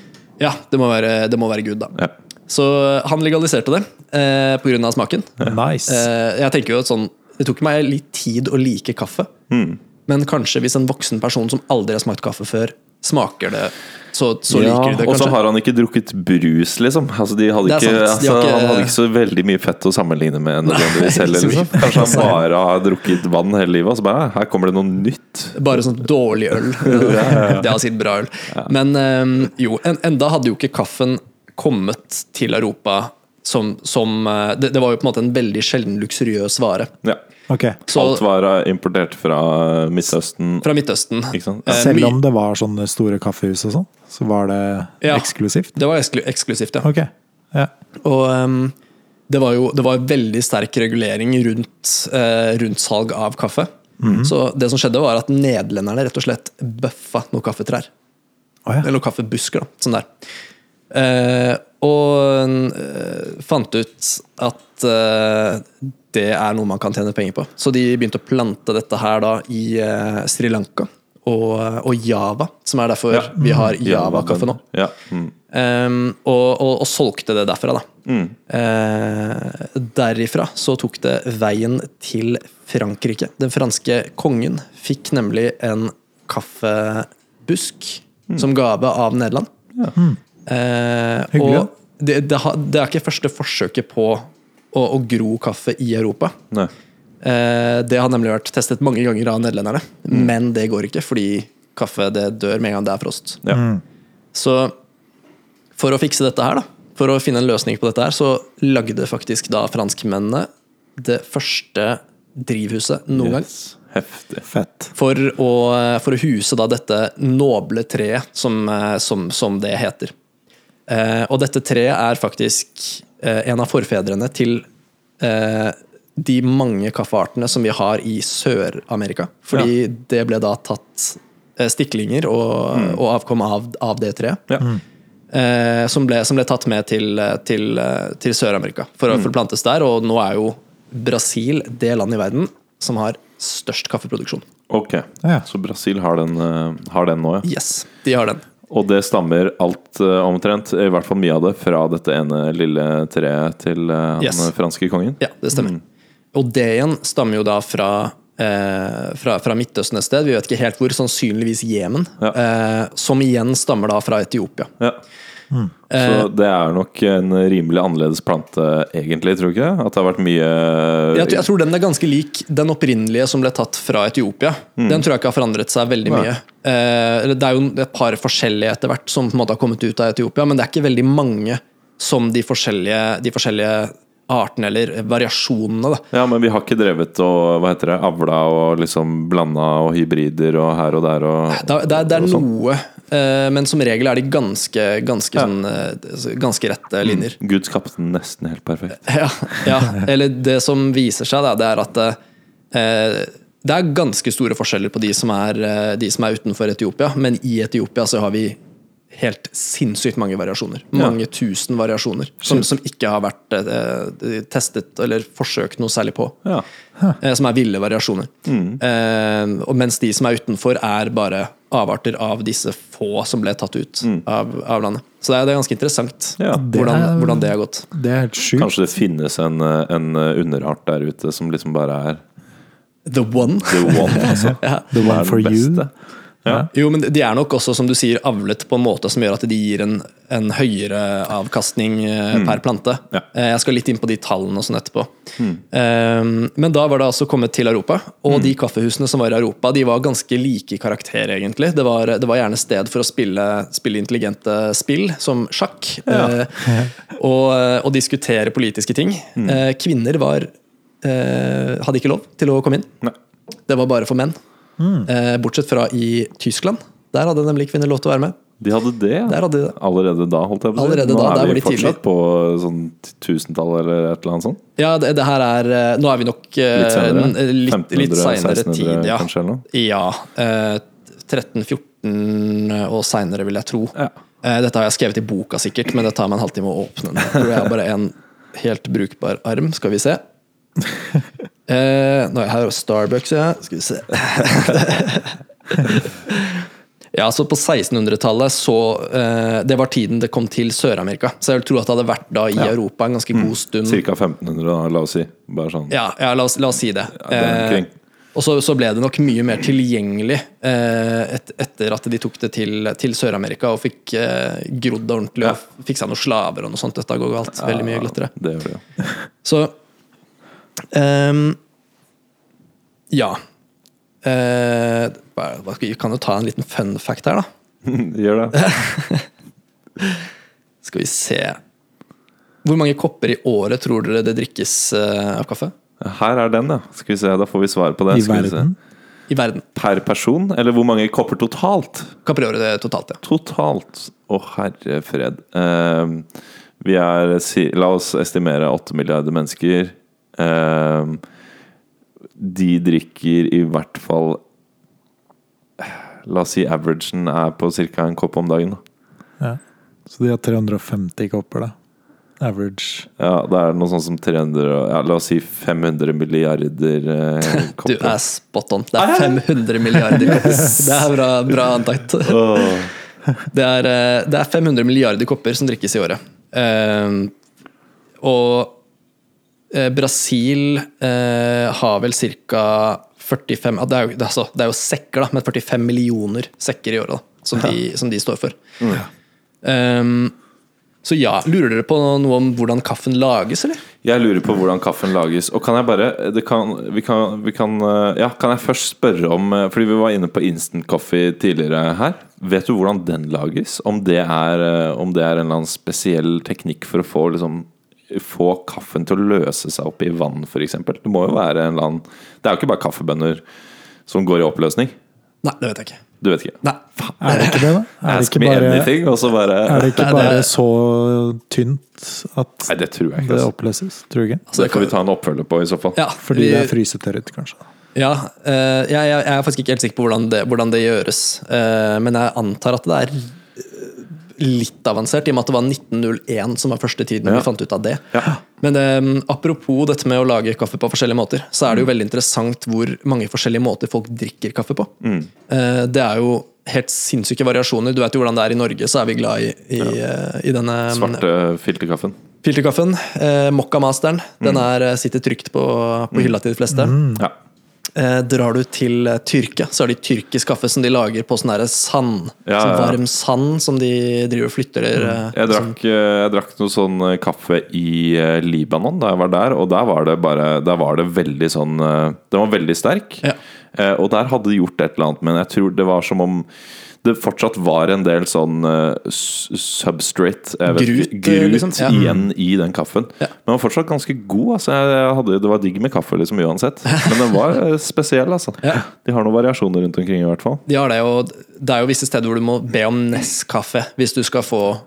S2: Ja, det må være, det må være Gud, da.
S1: Ja.
S2: Så han legaliserte det eh, pga. smaken.
S3: Nice.
S2: Eh, jeg tenker jo at sånn, Det tok meg litt tid å like kaffe.
S1: Mm.
S2: Men kanskje hvis en voksen person som aldri har smakt kaffe før, smaker det, så, så
S1: Ja,
S2: liker de det
S1: og så
S2: kanskje.
S1: har han ikke drukket brus, liksom. Altså, de hadde
S2: Det er
S1: ikke,
S2: sant, de
S1: altså,
S2: har ikke-
S1: Han hadde ikke så veldig mye fett å sammenligne med nødvendigvis heller.
S2: ikke så
S1: Liksom. Kanskje han bare har drukket vann hele livet, og så bare "Hæ, Her kommer det noe nytt.
S2: Bare sånn dårlig øl. Det har sitt bra øl. ehm, Men eh, jo, en, enda hadde jo ikke kaffen kommet til Europa som, som eh, det, det var jo på en måte en veldig sjelden luksuriøs vare.
S1: Ja.
S3: Ok.
S2: Så
S1: Alt var eh, importert fra Midtøsten.
S2: fra Midtøsten.
S1: Ikke sant?
S2: Eh,
S3: Selv
S2: mye-
S3: om det var sånne store kaffehus og sånn, så var det
S2: Ja.
S3: eksklusivt?
S2: Det var eksklu eksklusivt, ja.
S3: Ok. Ja.
S2: Og ehm, det var jo det var veldig sterk regulering rundt, eh, rundt salg av kaffe.
S1: Mhm.
S2: Så det som skjedde, var at nederlenderne rett og slett bøffa noen kaffetrær.
S3: Å ja.
S2: Eller noen kaffebusker, da. Sånn der. Eh, og eh, fant ut at eh, det er noe man kan tjene penger på. Så de begynte å plante dette her da i eh, Sri Lanka og, eh, og Java, som er derfor
S1: Ja.
S2: vi har Java-kaffe nå.
S1: Ja. Mm.
S2: Ehm, og, og, og solgte det derfra, da. Eh, derifra så tok det veien til Frankrike. Den franske kongen fikk nemlig en kaffebusk som gave av Nederland. Eh,
S3: Hyggelig, da.
S2: og det, det, har- det er ikke første forsøket på å, å gro kaffe i Europa.
S1: Nei.
S2: Eh, det har nemlig vært testet mange ganger av nederlenderne, men det går ikke, fordi kaffe det dør med en gang det er frost.
S1: Ja.
S2: Så for å fikse dette her, da, for å finne en løsning på dette her, så lagde faktisk da franskmennene det første drivhuset noen gang.
S1: Yes. Heftig.
S3: Fett.
S2: For å, for å huse da dette noble treet, som, eh, som, som det heter. Eh, og dette treet er faktisk eh, en av forfedrene til eh, de mange kaffeartene som vi har i Sør-Amerika. Fordi det ble da tatt eh, stiklinger og, og avkom av, av det treet
S1: Ja.
S2: eh, som, ble, som ble tatt med til, eh, til, eh, til Sør-Amerika for å forplantes der. Og nå er jo Brasil det landet i verden som har størst kaffeproduksjon.
S1: Ok.
S3: Ja.
S1: Så Brasil har den, eh, har den nå, ja.
S2: Yes, de har den.
S1: Og det stammer alt eh, omtrent, i hvert fall mye av det, fra dette ene lille treet til eh, han
S2: Yes.
S1: eh, franske kongen?
S2: Ja, det stemmer. Og det igjen stammer jo da fra, eh, fra, fra Midtøsten et sted, vi vet ikke helt hvor, sannsynligvis Jemen.
S1: Ja.
S2: Eh, som igjen stammer da fra Etiopia.
S1: Ja.
S2: Eh,
S1: Så det er nok en rimelig annerledes plante, egentlig, tror du ikke det? At det har vært mye
S2: Jeg, tror- jeg tror den er ganske lik den opprinnelige som ble tatt fra Etiopia. Den tror jeg ikke har forandret seg veldig
S1: Nei.
S2: mye. Eh, eller det er jo et par forskjellige etter hvert som på en måte har kommet ut av Etiopia, men det er ikke veldig mange som de forskjellige, de forskjellige artene eller variasjonene. Da.
S1: Ja, men vi har ikke drevet og hva heter det, avla og liksom blanda og hybrider og her og der og
S2: Det, er- det, er- det er
S1: og sånn.
S2: noe, eh, men som regel er de ganske, ganske, sånn, eh, ganske rette linjer.
S1: Gud skapte den nesten helt perfekt.
S2: Ja, ja, eller det som viser seg, da, det er at eh, det er ganske store forskjeller på de som, er, eh, de som er utenfor Etiopia, men i Etiopia så har vi helt sinnssykt mange variasjoner. Mange tusen variasjoner som, som ikke har vært eh, testet eller forsøkt noe særlig på.
S1: Ja.
S2: Eh, som er ville variasjoner. Eh, og mens de som er utenfor, er bare avarter av disse få som ble tatt ut av, av landet. Så det er, det er ganske interessant
S1: Ja, det
S2: hvordan,
S3: er-
S2: hvordan det har gått.
S3: Det er helt sjukt.
S1: Kanskje det finnes en, en underart der ute som liksom bare er
S2: The one.
S1: the one, altså.
S3: The
S1: Som
S3: one
S1: er
S3: for
S1: den
S3: you.
S1: beste. Ja.
S2: Jo, men de er nok også, som du sier, avlet på en måte som gjør at de gir en, en høyere avkastning eh, per plante.
S1: Mm. Ja. Mm.
S2: Eh, Jeg skal litt inn på de tallene og sånn etterpå. Eh, Men da var det altså kommet til Europa, og de kaffehusene som var i Europa, de var ganske like i karakter, egentlig. Det var, det var gjerne sted for å spille, spille intelligente spill, som sjakk, eh, og, og diskutere politiske ting.
S1: Mm.
S2: Eh, Kvinner var eh, hadde ikke lov til å komme inn.
S1: Nei.
S2: Det var bare for menn. Eh, bortsett fra i Tyskland. Der hadde nemlig kvinner lov til å være med.
S1: De hadde det, ja.
S2: Der hadde de det.
S1: Allerede da, holdt jeg på å si.
S2: Allerede
S1: Nå
S2: da, der
S1: er
S2: var
S1: vi
S2: de tidlig.
S1: fortsatt på sånn tusentallet eller et eller annet sånt.
S2: Ja, det, det her er eh, Nå er vi nok eh,
S1: Litt senere?
S2: en- eh, Litt, litt
S1: 1500,
S2: senere
S1: 1600
S2: tid, ja.
S1: kanskje, eller noe?
S2: ja eh, 13-14 og seinere, vil jeg tro.
S1: Ja.
S2: Eh, dette har jeg skrevet i boka sikkert, men det tar meg en halvtime å åpne den. For jeg har bare en helt brukbar arm. Skal vi se. Eh, nå er jeg her og Starbucks, ja. Skal vi se. Ja, så På 1600-tallet så eh, Det var tiden det kom til Sør-Amerika. Så jeg vil tro at det hadde vært da i Europa en ganske
S1: Mm.
S2: god stund.
S1: Cirka 1500, da, la oss si. Bare sånn.
S2: Mm. Ja, ja la, oss, la oss si det.
S1: det er omkring.
S2: Eh, og så, så ble det nok mye mer tilgjengelig eh, et, etter at de tok det til, til Sør-Amerika og fikk eh, grodd det ordentlig og fikk seg noen slaver og noe sånt. Dette går galt veldig mye glattere.
S1: Det gjør det, ja.
S2: Så ehm, Ja. Eh, hva- hva skal vi kan jo ta en liten fun fact her, da.
S1: Gjør det.
S2: Skal vi se Hvor mange kopper i året tror dere det drikkes eh, av kaffe?
S1: Her er den, ja. Skal vi se, Da får vi svar på det.
S3: I
S1: Skal vi se.
S3: verden.
S2: I verden.
S1: Per person? Eller hvor mange kopper totalt?
S2: Kopper i året det totalt, ja.
S1: Totalt. Å, herre fred. Ehm, vi er si- La oss estimere 8 milliarder mennesker. Ehm, de drikker i hvert fall La oss si averagen er på ca. en kopp om dagen. da.
S3: Ja. Så de har 350 kopper, da. Average.
S1: Ja, Det er noe sånn som 300 og- ja, La oss si 500 milliarder eh,
S2: Du
S1: kopper.
S2: er spot on. Det er 500 milliarder kopper. Det er bra, bra antakt.
S1: Åh.
S2: Det er, eh, det er 500 milliarder kopper som drikkes i året. Eh, og eh, Brasil eh, har vel ca. 45 ah, det, er jo, det, er altså, det er jo sekker, da, men 45 millioner sekker i året da, som, de, som de står for. Eh, så ja, lurer dere på noe om hvordan kaffen lages, eller?
S1: Jeg lurer på hvordan kaffen lages. Og kan jeg bare det kan, vi kan, vi kan, eh, Ja, kan jeg først spørre om eh, Fordi vi var inne på instant coffee tidligere her. Vet du hvordan den lages? Om det er, eh, om det er en eller annen spesiell teknikk for å få, liksom, få kaffen til å løse seg opp i vann, f.eks.? Det må jo være en eller annen Det er jo ikke bare kaffebønner som går i oppløsning.
S2: Nei, det vet jeg ikke.
S1: Du vet ikke.
S2: Nei,
S3: Er det ikke det, da? Er det
S1: Ask
S3: ikke
S1: me
S3: bare,
S1: anything, og så bare
S3: er det ikke
S2: Nei, det er-
S3: bare så tynt at
S1: Nei, det tror jeg ikke.
S3: det
S1: Altså.
S3: oppløses? Tror du ikke?
S1: Så det får vi ta en oppfølger på i så fall.
S2: ja,
S3: Fordi
S2: vi-
S3: det er frysetørret, kanskje.
S2: Ja, eh, jeg, jeg, jeg er faktisk ikke helt sikker på hvordan det, hvordan det gjøres. eh, men jeg antar at det er eh, litt avansert, i og med at det var 1901 som var første tiden
S1: Ja.
S2: vi fant ut av det.
S1: Ja.
S2: Men eh, apropos dette med å lage kaffe på forskjellige måter, så er det jo
S1: Mm.
S2: veldig interessant hvor mange forskjellige måter folk drikker kaffe på.
S1: Mm.
S2: Eh, det er jo helt sinnssyke variasjoner. Du vet jo hvordan det er i Norge, så er vi glad i, i, eh, i denne
S1: Svarte filterkaffen.
S2: Mm. filterkaffen. Uh, Mokkamasteren. Den
S1: Mm.
S2: er, eh, sitter trygt på, på hylla til de fleste.
S1: Ja.
S2: Eh, drar du til eh, Tyrkia, så har de tyrkisk kaffe som de lager på sånn derre sand.
S1: Ja,
S2: sånn
S1: ja, Mm. ja.
S2: varm sand som de driver og flytter eh,
S1: Jeg drakk, eh, jeg drakk noe sånn eh, kaffe i eh, Libanon da jeg var der, og der var det bare Der var det veldig sånn eh, Den var veldig sterk,
S2: Ja.
S1: Eh, og der hadde de gjort et eller annet, men jeg tror det var som om det fortsatt var en del sånn eh, s- substrate jeg vet
S2: Grut,
S1: ikke,
S2: eh,
S1: grut
S2: liksom, ja.
S1: igjen i den kaffen.
S2: Ja.
S1: Men den var fortsatt ganske god. Altså. Jeg jeg hadde, det var digg med kaffe liksom uansett. Men den var eh, spesiell, altså.
S2: Ja.
S1: De har noen variasjoner rundt omkring, i hvert fall.
S2: De har det, og det er jo visse steder hvor du må be om Nescafé hvis du skal få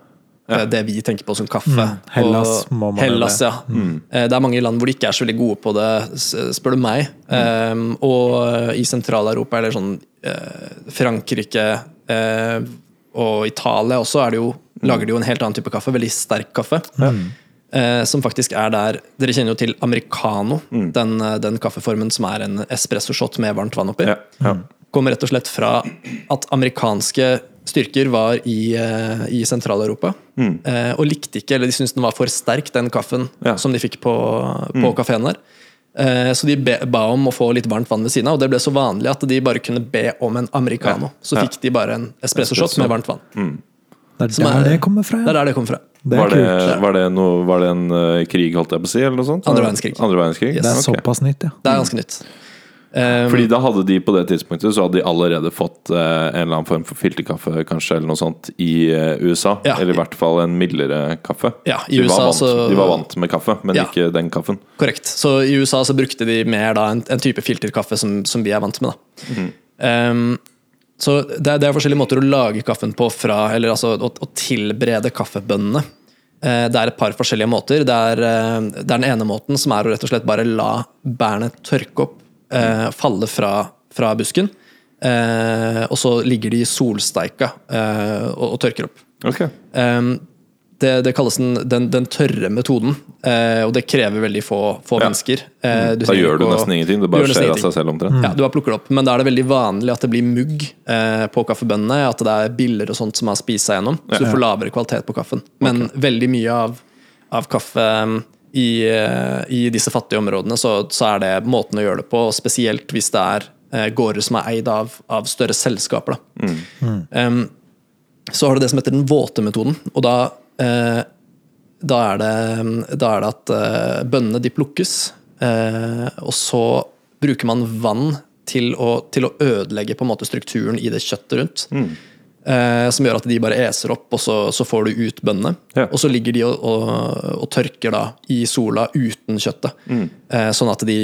S2: eh, det vi tenker på som kaffe.
S3: Mm. Hellas må man
S2: Hellas,
S3: gjøre Mm.
S2: ja. Eh, Det er mange land hvor de ikke er så veldig gode på det, s- spør du meg.
S3: Mm.
S2: Eh, og eh, i Sentral-Europa er det sånn eh, Frankrike eh, og Italia også er det jo,
S3: Mm.
S2: lager de jo en helt annen type kaffe, veldig sterk kaffe. Eh, som faktisk er der Dere kjenner jo til americano,
S3: Mm.
S2: den, eh, den kaffeformen som er en espressoshot med varmt vann oppi
S1: Ja. Ja.
S2: kom rett og slett fra at amerikanske styrker var i, eh, i Sentral-Europa eh, og likte ikke, eller de syntes den var for sterk, den kaffen
S1: Mm. Ja. Mm.
S2: som de fikk på, på kafeen der. Eh, Så de be, ba om å få litt varmt vann ved siden av, og det ble så vanlig at de bare kunne be om en americano. Så
S1: Ja.
S2: fikk de bare en espressoshot med varmt vann.
S3: Det er
S2: Som
S3: der
S2: er-
S3: det kommer fra,
S2: Det er
S3: ja.
S2: der det kom fra.
S3: Det
S1: Var
S3: er kult.
S1: det, var, det noe, var det en eh, krig, holdt jeg på å si? Eller noe sånt?
S2: Andre verdenskrig.
S1: Andre verdenskrig?
S3: Det er
S1: Ok.
S3: såpass nytt, ja.
S2: Det er ganske nytt. Eh,
S1: Fordi da hadde de på det tidspunktet Så hadde de allerede fått eh, en eller annen form for filterkaffe kanskje, eller noe sånt i eh, USA.
S2: Ja.
S1: Eller i hvert fall en mildere kaffe.
S2: Ja, i
S1: de,
S2: USA
S1: var vant,
S2: så-
S1: de var vant med kaffe, men
S2: Ja.
S1: ikke den kaffen.
S2: Korrekt. Så i USA så brukte de mer da en, en type filterkaffe som, som vi er vant med. Da. Ehm, så det er, det er forskjellige måter å lage kaffen på fra, eller altså å, å tilberede kaffebønnene. Eh, det er et par forskjellige måter. Det er, eh, det er den ene måten som er å rett og slett bare la bærene tørke opp, eh, falle fra, fra busken. Eh, og så ligger de solsteika eh, og, og tørker opp.
S1: Ok,
S2: Ehm, det, det kalles den, den, den tørre metoden, eh, og det krever veldig få, få
S1: Ja. Mm.
S2: mennesker. Eh,
S1: Da
S2: trenger
S1: gjør du
S2: ikke å-
S1: nesten ingenting. Det
S2: Du gjør
S1: bare
S2: nesten
S1: skjer av
S2: ingenting. Mm.
S1: seg selv omtrent.
S2: Ja, du bare plukker det opp, men da er det veldig vanlig at det blir mugg eh, på kaffebønnene. At det er biller og sånt som har spist seg gjennom, så du får lavere kvalitet på kaffen. Men veldig mye av, av kaffe um, i, eh, i disse fattige områdene, så, så er det måten å gjøre det på. og Spesielt hvis det er eh, gårder som er eid av, av større selskaper. Da.
S1: Mm.
S2: Um, så har du det som heter den våte metoden, og da eh, da er det, da er det at eh, bønnene de plukkes, eh, og så bruker man vann til å, til å ødelegge på en måte strukturen i det kjøttet rundt. Eh, som gjør at de bare eser opp, og så, så får du ut bønnene.
S1: Ja.
S2: Og så ligger de og, og, og tørker da i sola uten kjøttet. Eh, sånn at de,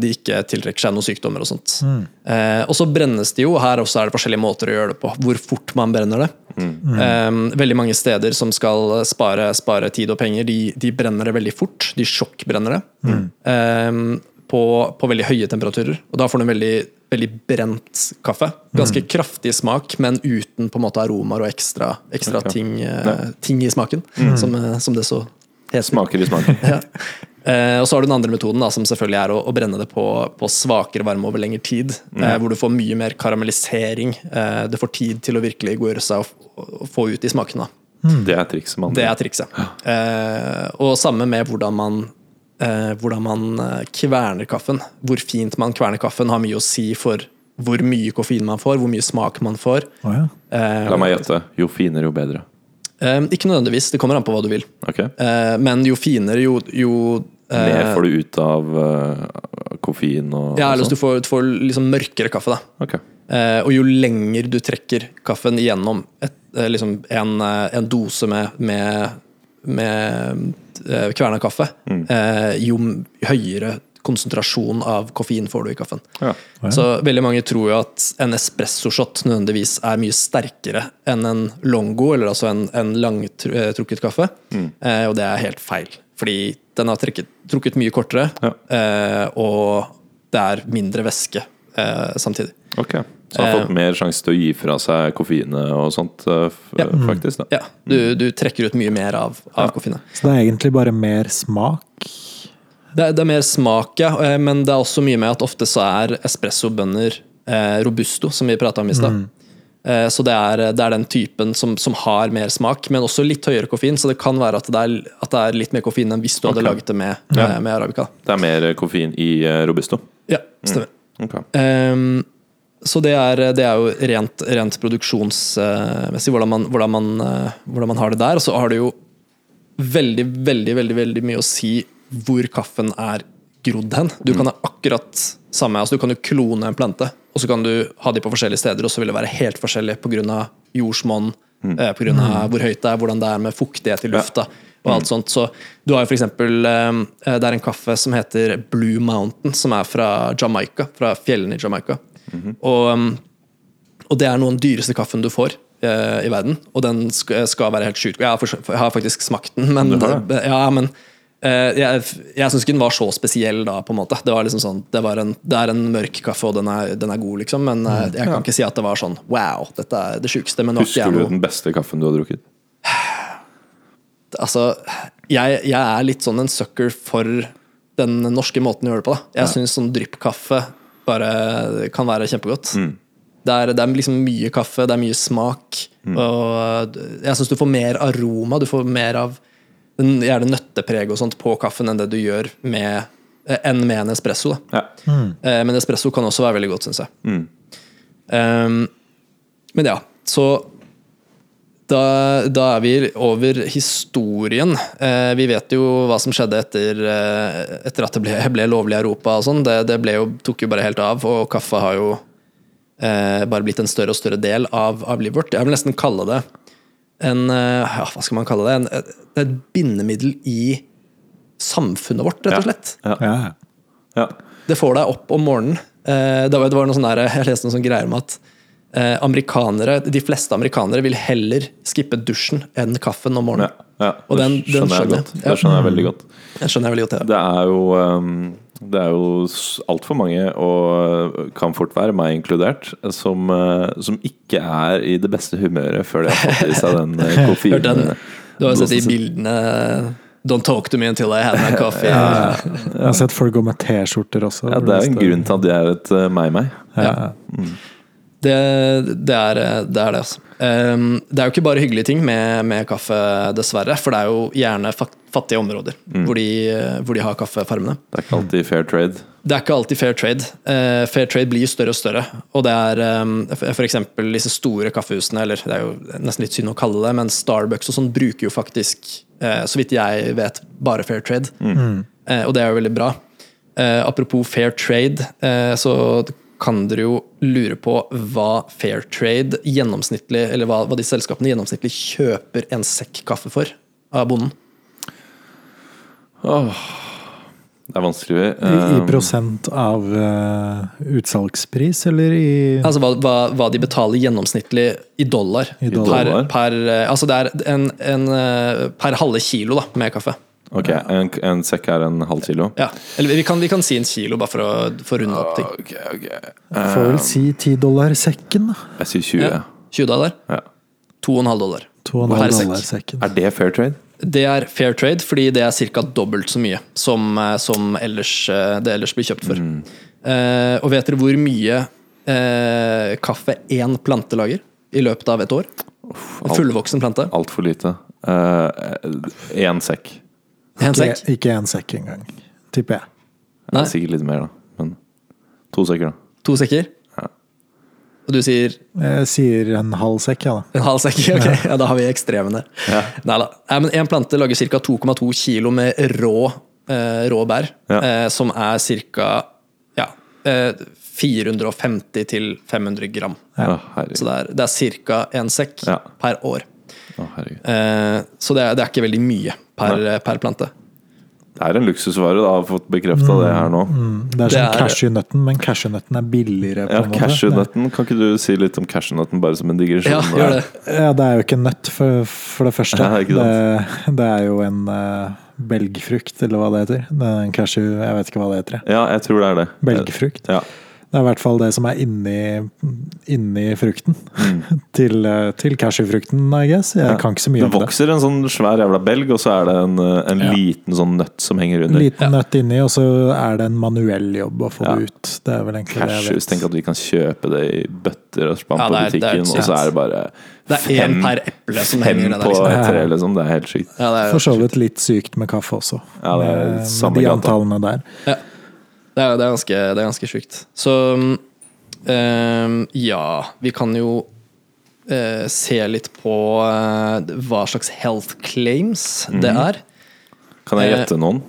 S2: de ikke tiltrekker seg noen sykdommer og sånt. Eh, og så brennes de jo, og her også er det forskjellige måter å gjøre det på. Hvor fort man brenner det. Eh, veldig mange steder som skal spare, spare tid og penger, de, de brenner det veldig fort. De sjokkbrenner det. Eh, på, på veldig høye temperaturer. Og da får du en veldig, veldig brent kaffe. Ganske kraftig smak, men uten på en måte aromaer og ekstra, ekstra
S1: Ok.
S2: ting, eh, ting i smaken, som, eh, som det så heter.
S1: Smaker i smaken.
S2: Ja. Eh, og så har du den andre metoden, da, som selvfølgelig er å, å brenne det på, på svakere varme over lengre tid.
S1: Mm.
S2: Eh, hvor du får mye mer karamellisering. Eh, du får tid til å virkelig gå i seg og, og få ut de smakene. da.
S1: Det er trikset man
S2: Mm. Det er trikset. Eh, og samme med hvordan man eh, hvordan man eh, kverner kaffen. Hvor fint man kverner kaffen har mye å si for hvor mye koffein man får, hvor mye smak man får.
S3: Å ja.
S2: Eh,
S1: La meg gjette. Jo finere, jo bedre.
S2: eh, ikke nødvendigvis, det kommer an på hva du vil.
S1: Ok?
S2: Eh, men jo finere, jo, jo eh,
S1: Mer får du ut av eh, koffein og,
S2: ja,
S1: og
S2: eller
S1: sånn?
S2: du får, du får liksom mørkere kaffe, da.
S1: Ok.
S2: Eh, og jo lenger du trekker kaffen gjennom et, eh, liksom en, eh, en dose med, med, med eh, kverna kaffe, eh, jo m- høyere konsentrasjon av koffein får du i kaffen.
S1: Ja.
S2: Så veldig mange tror jo at en espressoshot nødvendigvis er mye sterkere enn en longo, eller altså en, en langtrukket kaffe,
S1: Mm.
S2: eh, og det er helt feil. Fordi den har trekket, trukket mye kortere,
S1: Ja.
S2: eh, og det er mindre væske eh, samtidig.
S1: Ok. Så han har
S2: Eh,
S1: fått mer sjanse til å gi fra seg koffeinet og sånt, eh, f
S2: Ja.
S1: faktisk. da
S2: Ja, du, du trekker ut mye mer av, av koffeinet.
S3: Så det er egentlig bare mer smak.
S2: Det, er- det er mer smak, ja, eh, men det er også mye med at ofte så er espressobønner eh, robusto, som vi prata om i stad. Eh, så det er, det er den typen som, som har mer smak, men også litt høyere koffein. Så det kan være at det er, at det er litt mer koffein enn hvis du hadde
S1: Ok.
S2: laget det med, eh, med arabica.
S1: Det er mer koffein i eh, robusto.
S2: Ja, stemmer.
S1: Ok.
S2: Ehm, så det er, det er jo rent, rent produksjonsmessig hvordan man, hvordan, man, eh, hvordan man har det der. Og så har det jo veldig, veldig, veldig, veldig mye å si hvor kaffen er grodd hen. Du kan ha akkurat samme, altså du kan jo klone en plante, og så kan du ha de på forskjellige steder, og så vil det være helt forskjellig pga. jordsmonn, eh, på grunn av hvor høyt det er, hvordan det er med fuktighet i lufta. Og alt sånt. Så du har jo for eksempel, eh, Det er en kaffe som heter Blue Mountain, som er fra Jamaica, fra fjellene i Jamaica. Og eh, og det er noe av den dyreste kaffen du får eh, i verden. Og den skal, skal være helt sjuk. Jeg, har for- jeg har faktisk smakt den,
S1: Du
S2: men,
S1: har det?
S2: ja, men eh, jeg, jeg syns ikke den var så spesiell da, på en måte. Det, var liksom sånn, det, var en, det er en mørk kaffe, og den er, den er god, liksom, men eh, jeg kan ikke si at det var sånn wow, dette er det sjukeste. Men det
S1: Mm.
S2: var ikke
S1: Husker
S2: jeg
S1: du
S2: noe
S1: den beste kaffen du har drukket?
S2: altså, jeg, jeg er litt sånn en sucker for den norske måten å gjøre det på. Da. Jeg synes syns sånn dryppkaffe bare kan være kjempegodt. Det, er, det er liksom mye kaffe, det er mye smak, og eh, jeg syns du får mer aroma. Du får mer av den- gjerne nøttepreg og sånt på kaffen enn det du gjør med eh, enn med en espresso. Da.
S1: Ja.
S2: Eh, Men espresso kan også være veldig godt, syns jeg. Um, men ja, så da, da er vi over historien. Eh, vi vet jo hva som skjedde etter, eh, etter at det ble, ble lovlig i Europa. og sånn. Det, det ble jo, tok jo bare helt av, og kaffe har jo eh, bare blitt en større og større del av, av livet vårt. Jeg vil nesten kalle det en eh, ja, Hva skal man kalle det? En, et, et bindemiddel i samfunnet vårt, rett og slett.
S1: Ja.
S3: Ja.
S1: Ja.
S2: Det får deg opp om morgenen. Eh, det var, det var noe sånn der, jeg leste noen sånne greier om at eh, amerikanere, de fleste amerikanere vil heller skippe dusjen enn kaffen om
S1: Ja.
S2: morgenen.
S1: ja.
S2: Og den-
S1: det
S2: den
S1: skjønner jeg
S2: skjønner
S1: godt.
S2: jeg.
S1: Det skjønner jeg veldig godt.
S2: Jeg skjønner veldig godt det.
S1: Det er jo ehm, Det er jo altfor mange, og eh, kan fort være meg inkludert, som, eh, som ikke er i det beste humøret før de har fått i seg den eh,
S2: Hørt den?
S1: koffeinen.
S2: Du har jo sett de bildene Don't talk to me until I have my coffee.
S3: Jeg har sett folk gå med T-skjorter også.
S1: Ja, det er jo en grunn til at de er et eh, meg-meg.
S3: Ja.
S1: Mm.
S2: Det, det, er, det er det, altså. Ehm, det er jo ikke bare hyggelige ting med, med kaffe, dessverre. For det er jo gjerne fat- fattige områder
S1: Mm.
S2: hvor, de, hvor de har kaffefarmene.
S1: Det er ikke alltid fair trade.
S2: det er ikke alltid fair trade. Eh, fair trade blir jo større og større. Og det er eh, f.eks. disse store kaffehusene, eller det er jo nesten litt synd å kalle det, men Starbucks og sånn bruker jo faktisk, eh, så vidt jeg vet, bare fair trade. Eh, og det er jo veldig bra. Eh, apropos fair trade, eh, så kan dere jo lure på hva fair trade gjennomsnittlig, eller hva, hva de selskapene gjennomsnittlig kjøper en sekk kaffe for av bonden.
S1: Det er vanskelig.
S3: I, i
S1: eh,
S3: prosent av eh, utsalgspris, eller i
S2: Altså hva, hva, hva de betaler gjennomsnittlig i dollar.
S3: I dollar.
S2: Per, per, eh, altså det er en, en, eh, per halve kilo da, med kaffe.
S1: ok, en, en sekk er en halv kilo.
S2: Ja. Eller vi kan, vi kan si en kilo, bare for å, for å runde opp ting.
S1: Ok, ok.
S3: Får vel si 10 dollar sekken, da.
S1: Eh, Jeg sier 20.
S2: Ja. 20 dollar.
S1: Ja.
S2: 2,5 dollar.
S3: 2,5
S2: Per sekk.
S3: dollar sekken.
S1: Er det fair trade?
S2: Det er fair trade, fordi det er ca. dobbelt så mye som, eh, som ellers, eh, det ellers blir kjøpt for.
S3: Mm.
S2: Eh, og vet dere hvor mye eh, kaffe én plante lager i løpet av et år? En fullvoksen plante.
S1: Altfor lite. Én sekk.
S2: En sekk.
S3: Ikke- Ikke én sekk engang, tipper jeg.
S1: Det
S2: Nei.
S1: er Sikkert litt mer, da. Men to sekker, da.
S2: To sekker.
S1: Ja.
S2: Og du sier
S3: Jeg sier en halv sekk, ja da.
S2: en halv sekk? Ok, ja, da har vi ekstremene. Neida. Nei, men én plante lager ca. 2,2 kilo med rå, eh, rå bær,
S1: Ja.
S2: eh, som er ca. Ja, eh, 450 til 500 gram.
S1: Å,
S2: Så
S1: herregud.
S2: det er, det er ca. én sekk
S1: Ja.
S2: per år.
S1: Å, herregud.
S2: Eh, så det er, det er ikke veldig mye per, eh, per plante.
S1: Det er en luksusvare. Da. Jeg har fått bekrefta det her nå.
S3: Det er
S2: Det
S3: som
S2: er-
S3: cashewnøtten, men cashewnøtten er billigere. på
S1: Ja,
S3: mm, en måte.
S1: Cashewnøtten. Kan ikke du si litt om cashewnøtten, bare som en digresjon?
S2: Ja, gjør det.
S3: Ja, det er jo ikke en nøtt, for, for det første.
S1: Ja, ikke
S3: det, det er jo en eh, belgfrukt, eller hva det heter. Det er en cashew, jeg vet ikke hva det heter. jeg.
S1: Ja, jeg tror det er det.
S3: Belgfrukt.
S1: Ja.
S3: Det er i hvert fall det som er inni, inni frukten. til, eh, til cashewfrukten, I guess. Jeg
S1: Mm. Ja.
S3: kan ikke så
S1: Det
S3: mye om det.
S1: vokser en sånn svær jævla belg, og så er det en, eh, en liten sånn nøtt som henger
S3: En
S1: under.
S3: liten nøtt inni, og så er det en manuell jobb å få
S1: Ja.
S3: det ut. Det er vel egentlig
S1: Cashews.
S3: det jeg
S1: Tenk
S3: vet.
S1: at vi kan kjøpe det i bøtter og spann
S2: Ja,
S1: på
S2: det er- det er
S1: butikken, og
S2: sykt.
S1: så er det bare
S2: Det er én per eple som
S1: fem
S2: henger ned der.
S1: på
S2: Liksom.
S1: et tre, liksom. Det er helt sykt.
S2: Ja, det er,
S3: For så vidt litt sykt med kaffe også,
S1: Ja, det er
S3: med, med
S1: samme
S3: de
S1: gata.
S3: antallene der.
S2: Ja. Det er, det er ganske, det er ganske sjukt. Så ehm, ja, vi kan jo eh, se litt på eh, hva slags health claims det er.
S1: Kan
S2: Eh,
S1: jeg gjette noen?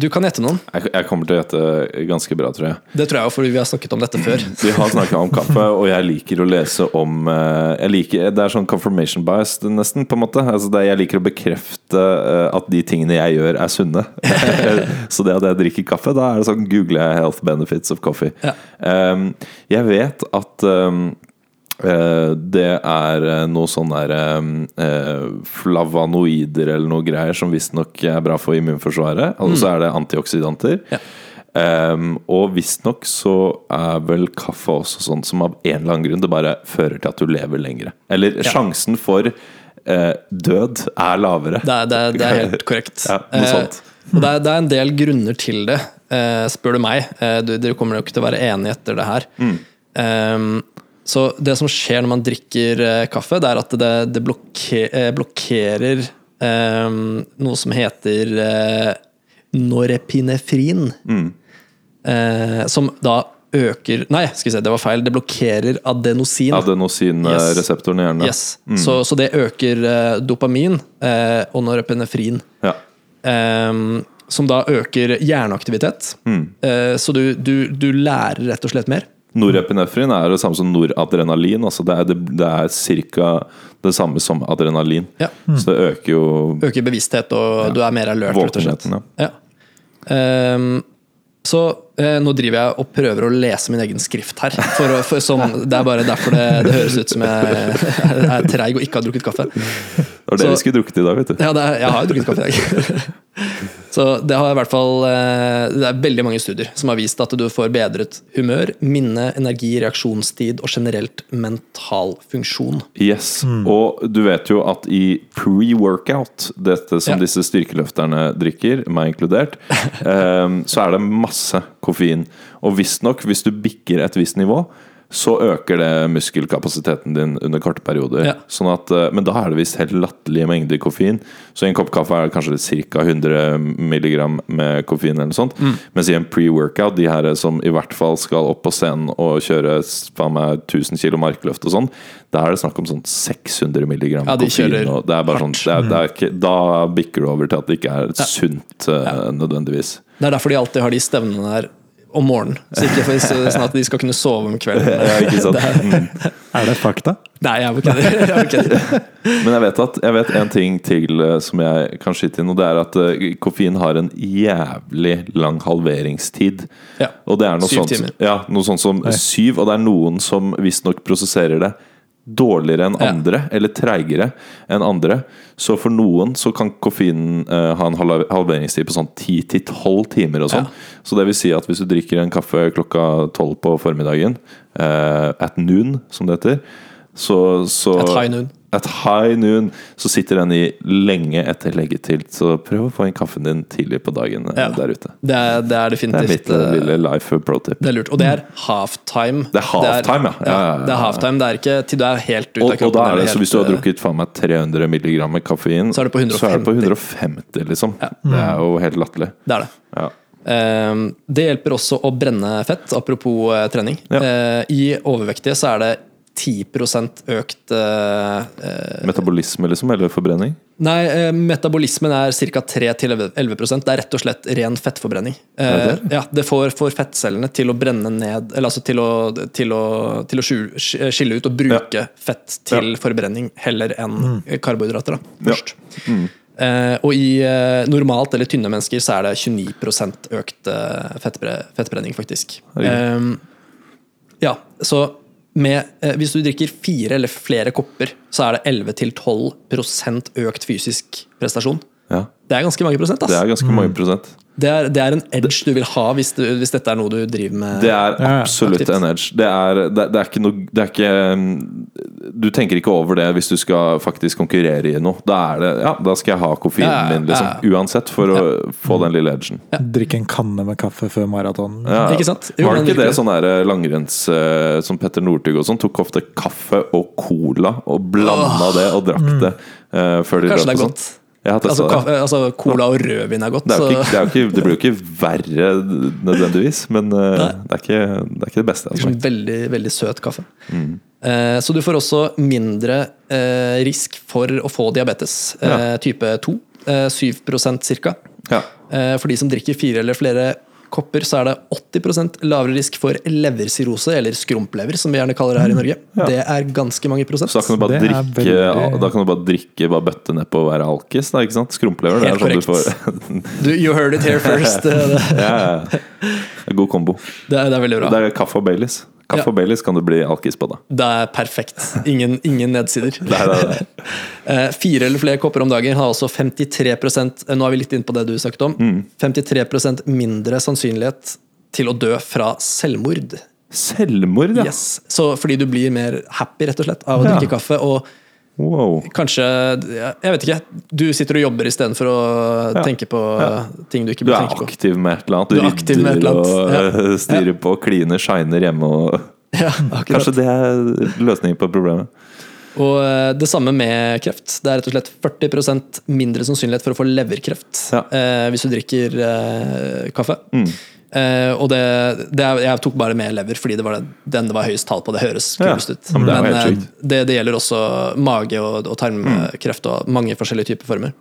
S2: Du kan gjette noen.
S1: Jeg, jeg kommer til å gjette ganske bra, tror jeg.
S2: Det tror jeg jo, fordi vi har snakket om dette før.
S1: Vi har snakka om kaffe, og jeg liker å lese om eh, jeg liker, Det er sånn confirmation bias, nesten, på en måte. Altså det, jeg liker å bekrefte eh, at de tingene jeg gjør, er sunne. så det at jeg drikker kaffe, da er det sånn googler jeg 'health benefits of coffee'.
S2: Ja.
S1: Um, jeg vet at um, eh, det er eh, noe sånn der um, eh, Flavanoider eller noe greier som visstnok er bra for immunforsvaret. Og så er det antioksidanter.
S2: Mm. Ja.
S1: Um, og visstnok så er vel kaffe også sånn som av en eller annen grunn det bare fører til at du lever lengre. Eller sjansen for eh, død er lavere.
S2: Det er, det er, det er helt korrekt.
S1: Ja, noe
S2: Eh,
S1: sånt.
S2: og det, er, det er en del grunner til det, eh, spør du meg. Eh, du, dere kommer nok til å være enige etter det her.
S1: Mm.
S2: Ehm, så det som skjer når man drikker eh, kaffe, det er at det, det blokke, eh, blokkerer ehm, noe som heter eh, norepinefrin.
S1: Mm.
S2: Eh, som da øker Nei, skal vi se, det var feil. Det blokkerer adenosin. Yes.
S1: Adenosinreseptoren eh, i hjernen.
S2: Yes. Så, så det øker eh, dopamin eh, og norepinefrin,
S1: Ja.
S2: eh, som da øker hjerneaktivitet. Eh, så du, du, du lærer rett og slett mer.
S1: Norepinefrin er det samme som noradrenalin. Altså det er, det, det er ca. det samme som adrenalin.
S2: Ja.
S1: Så det øker jo
S2: Øker bevissthet, og du er mer alert, rett og slett.
S1: våkenheten. Ja.
S2: Ja. Ehm, så eh, nå driver jeg og prøver å lese min egen skrift her. For, å- for, som, det er bare derfor det, det høres ut som jeg er treig og ikke har drukket kaffe.
S1: Det var det
S2: Så-
S1: vi skulle drukket i dag, vet du.
S2: Ja, det er, jeg har jo drukket kaffe i dag. Så det har i hvert fall eh, Det er veldig mange studier som har vist at du får bedret humør, minne, energi, reaksjonstid og generelt mental funksjon.
S1: Yes.
S2: Mm.
S1: Og du vet jo at i pre-workout, dette som
S2: Ja.
S1: disse styrkeløfterne drikker, meg inkludert, ehm, så er det masse koffein. Og visstnok, hvis du bikker et visst nivå, så øker det muskelkapasiteten din under korte perioder.
S2: Ja.
S1: Sånn at, eh, men da er det visst helt latterlige mengder koffein. Så i en kopp kaffe er det kanskje ca. 100 mg med koffein. eller noe sånt
S2: Mm.
S1: Mens i en pre-workout, de her som i hvert fall skal opp på scenen og kjøre s- faen meg 1000 kg markløft og sånn, da er det snakk om sånn 600 mg
S2: Ja, de
S1: koffein.
S2: kjører
S1: Og det er bare sånn,
S2: hardt.
S1: det er, det er ikke, da bikker du over til at det ikke er sunt eh, nødvendigvis.
S2: Det er derfor de alltid har de stevnene der om morgenen. Så ikke for, sånn at de skal kunne sove om kvelden.
S1: Ja, ikke sant? Mm.
S3: Er det fakta?
S2: Nei, jeg bare kødder. Jeg bare kødder.
S1: Men jeg vet, at, jeg vet en ting til eh, som jeg kan skyte inn, og det er at eh, koffein har en jævlig lang halveringstid.
S2: Ja.
S1: Og det er noe
S2: Syv
S1: sånt,
S2: timer.
S1: Ja, noe sånt som syv, og det er noen som visstnok prosesserer det dårligere enn
S2: Ja.
S1: andre, eller treigere enn andre. Så for noen så kan koffeinen eh, ha en halve- halveringstid på sånn 10-12 timer og sånn. Så det vil si at hvis du drikker en kaffe klokka 12 på formiddagen, eh, at noon, som det heter, så, så
S2: At high noon.
S1: At high noon så sitter den i lenge etter leggetid. Så prøv å få inn kaffen din tidlig på dagen eh,
S2: Ja.
S1: der ute.
S2: Det er, det er
S1: Det er
S2: definitivt
S1: mitt eh,
S2: eh,
S1: lille life pro tip.
S2: Det er lurt. Og det er halftime.
S1: Det er halftime, ja. Ja, ja, ja, ja.
S2: Det er halftime, det er ikke til du er helt ute av
S1: Og,
S2: kroppen.
S1: og da er
S2: eller
S1: det, så
S2: helt,
S1: Hvis du har
S2: eh,
S1: drukket faen meg 300 milligram med koffein,
S2: Så er det på 150.
S1: så er det på 150, liksom. Det er jo helt latterlig.
S2: Det er det.
S1: Ja.
S2: Ehm, Det hjelper også å brenne fett, apropos eh, trening.
S1: Ja.
S2: Eh, I overvektige så er det 10 økt eh, eh,
S1: Metabolisme, liksom, eller forbrenning?
S2: Nei, eh, metabolismen er ca. 3-11 Det er rett og slett ren fettforbrenning. Eh,
S1: Er det
S2: ja, det får, får fettcellene til å brenne ned Eller altså til å, til å, til å skjule, skille ut og bruke fett til forbrenning heller enn
S1: Mm.
S2: karbohydrater. Da,
S1: Ja. Mm.
S2: først. Eh, og i eh, normalt eller tynne mennesker så er det 29 økt eh, fettbre, fettbrenning, faktisk.
S1: Herregud.
S2: Eh, ja, så med, eh, hvis du drikker fire eller flere kopper, så er det 11-12 økt fysisk prestasjon.
S1: Ja.
S2: Det er ganske mange prosent.
S1: Det
S2: Ass.
S1: er ganske mange prosent.
S2: Det, er, det er en edge du vil ha hvis, du, hvis dette er noe du driver med.
S1: Det er
S3: ja.
S1: absolutt
S2: Aktivt.
S1: en edge. Det er, det, det er ikke noe Det er ikke um, Du tenker ikke over det hvis du skal faktisk konkurrere i noe. Da er det Ja, da skal jeg ha koffeinen
S2: Ja, ja,
S1: min, liksom.
S2: ja.
S1: Uansett, for å få den lille edgen.
S3: Drikke en kanne med kaffe før maraton.
S1: Ja.
S2: Ikke sant? Jo,
S1: var det
S2: men
S1: ikke det
S2: virkelig.
S1: sånn der langrenns eh, som Petter Northug og sånn, tok ofte kaffe og cola og blanda det og drakk det eh, før de
S2: Mm.
S1: løp og
S2: Kanskje det er
S1: sånn?
S2: godt.
S1: Jeg har
S2: Altså,
S1: testet
S2: kaffe, altså Cola og rødvin er godt.
S1: det. Det, er jo
S2: så-
S1: ikke, det, er jo ikke, det blir jo ikke verre nødvendigvis, men eh, det, er ikke, det er ikke det beste.
S2: Liksom
S1: Altså.
S2: veldig, veldig søt kaffe.
S1: Mm.
S2: Eh, så du får også mindre eh, risk for å få diabetes eh, type 2. Eh, 7 ca.
S1: Ja.
S2: Eh, for de som drikker fire eller flere kopper, så er det 80 lavere risk for leversirose, eller skrumplever, som vi gjerne kaller
S1: Mm.
S2: det her i Norge. Det er ganske mange prosent.
S1: Så da kan, du bare
S3: Det er
S1: drikke,
S3: veldig-
S1: da kan du bare drikke Bare bøtte nedpå og være alkis, da, ikke sant? Skrumplever. Det er
S2: Helt
S1: sånn du
S2: korrekt.
S1: får
S2: Du, you heard it here first. Det, det,
S1: ja, ja. ja. God kombo.
S2: det, er, det er veldig bra.
S1: Det er kaffe og Baileys. Kaffe
S2: Ja.
S1: og Baileys kan du bli alkis på, da.
S2: Det er perfekt. Ingen, ingen nedsider.
S1: Det er, det er-
S2: Eh, Fire eller flere kopper om dagen har altså 53 eh, Nå er vi litt inne på det du snakket om.
S1: Mm.
S2: 53 mindre sannsynlighet til å dø fra selvmord.
S1: Selvmord, ja!
S2: Yes. Så fordi du blir mer happy rett og slett av å
S1: Ja.
S2: drikke kaffe. Og
S1: Wow.
S2: kanskje ja, Jeg vet ikke. Du sitter og jobber istedenfor å
S1: Ja.
S2: tenke på eh, ting du ikke
S1: Du
S2: bør
S1: er
S2: tenke på.
S1: aktiv med et eller annet.
S2: Du
S1: Du,
S2: er aktiv med et
S1: rydder
S2: eller annet,
S1: og
S2: ja.
S1: eh, styrer på, kliner, shiner hjemme og
S2: Ja, akkurat.
S1: Kanskje det er løsningen på problemet.
S2: Og eh, det samme med kreft. Det er rett og slett 40 mindre sannsynlighet for å få leverkreft
S1: Ja. Mm.
S2: eh, hvis du drikker eh, kaffe. Eh, og det, det er, Jeg tok bare med lever fordi det var det, den det var høyest tall på. Det høres
S1: Ja.
S2: kulest ut.
S1: Ja, men det er jo helt
S2: eh,
S1: sykt.
S2: det, det gjelder også mage og, og tarmkreft og mange forskjellige typer former.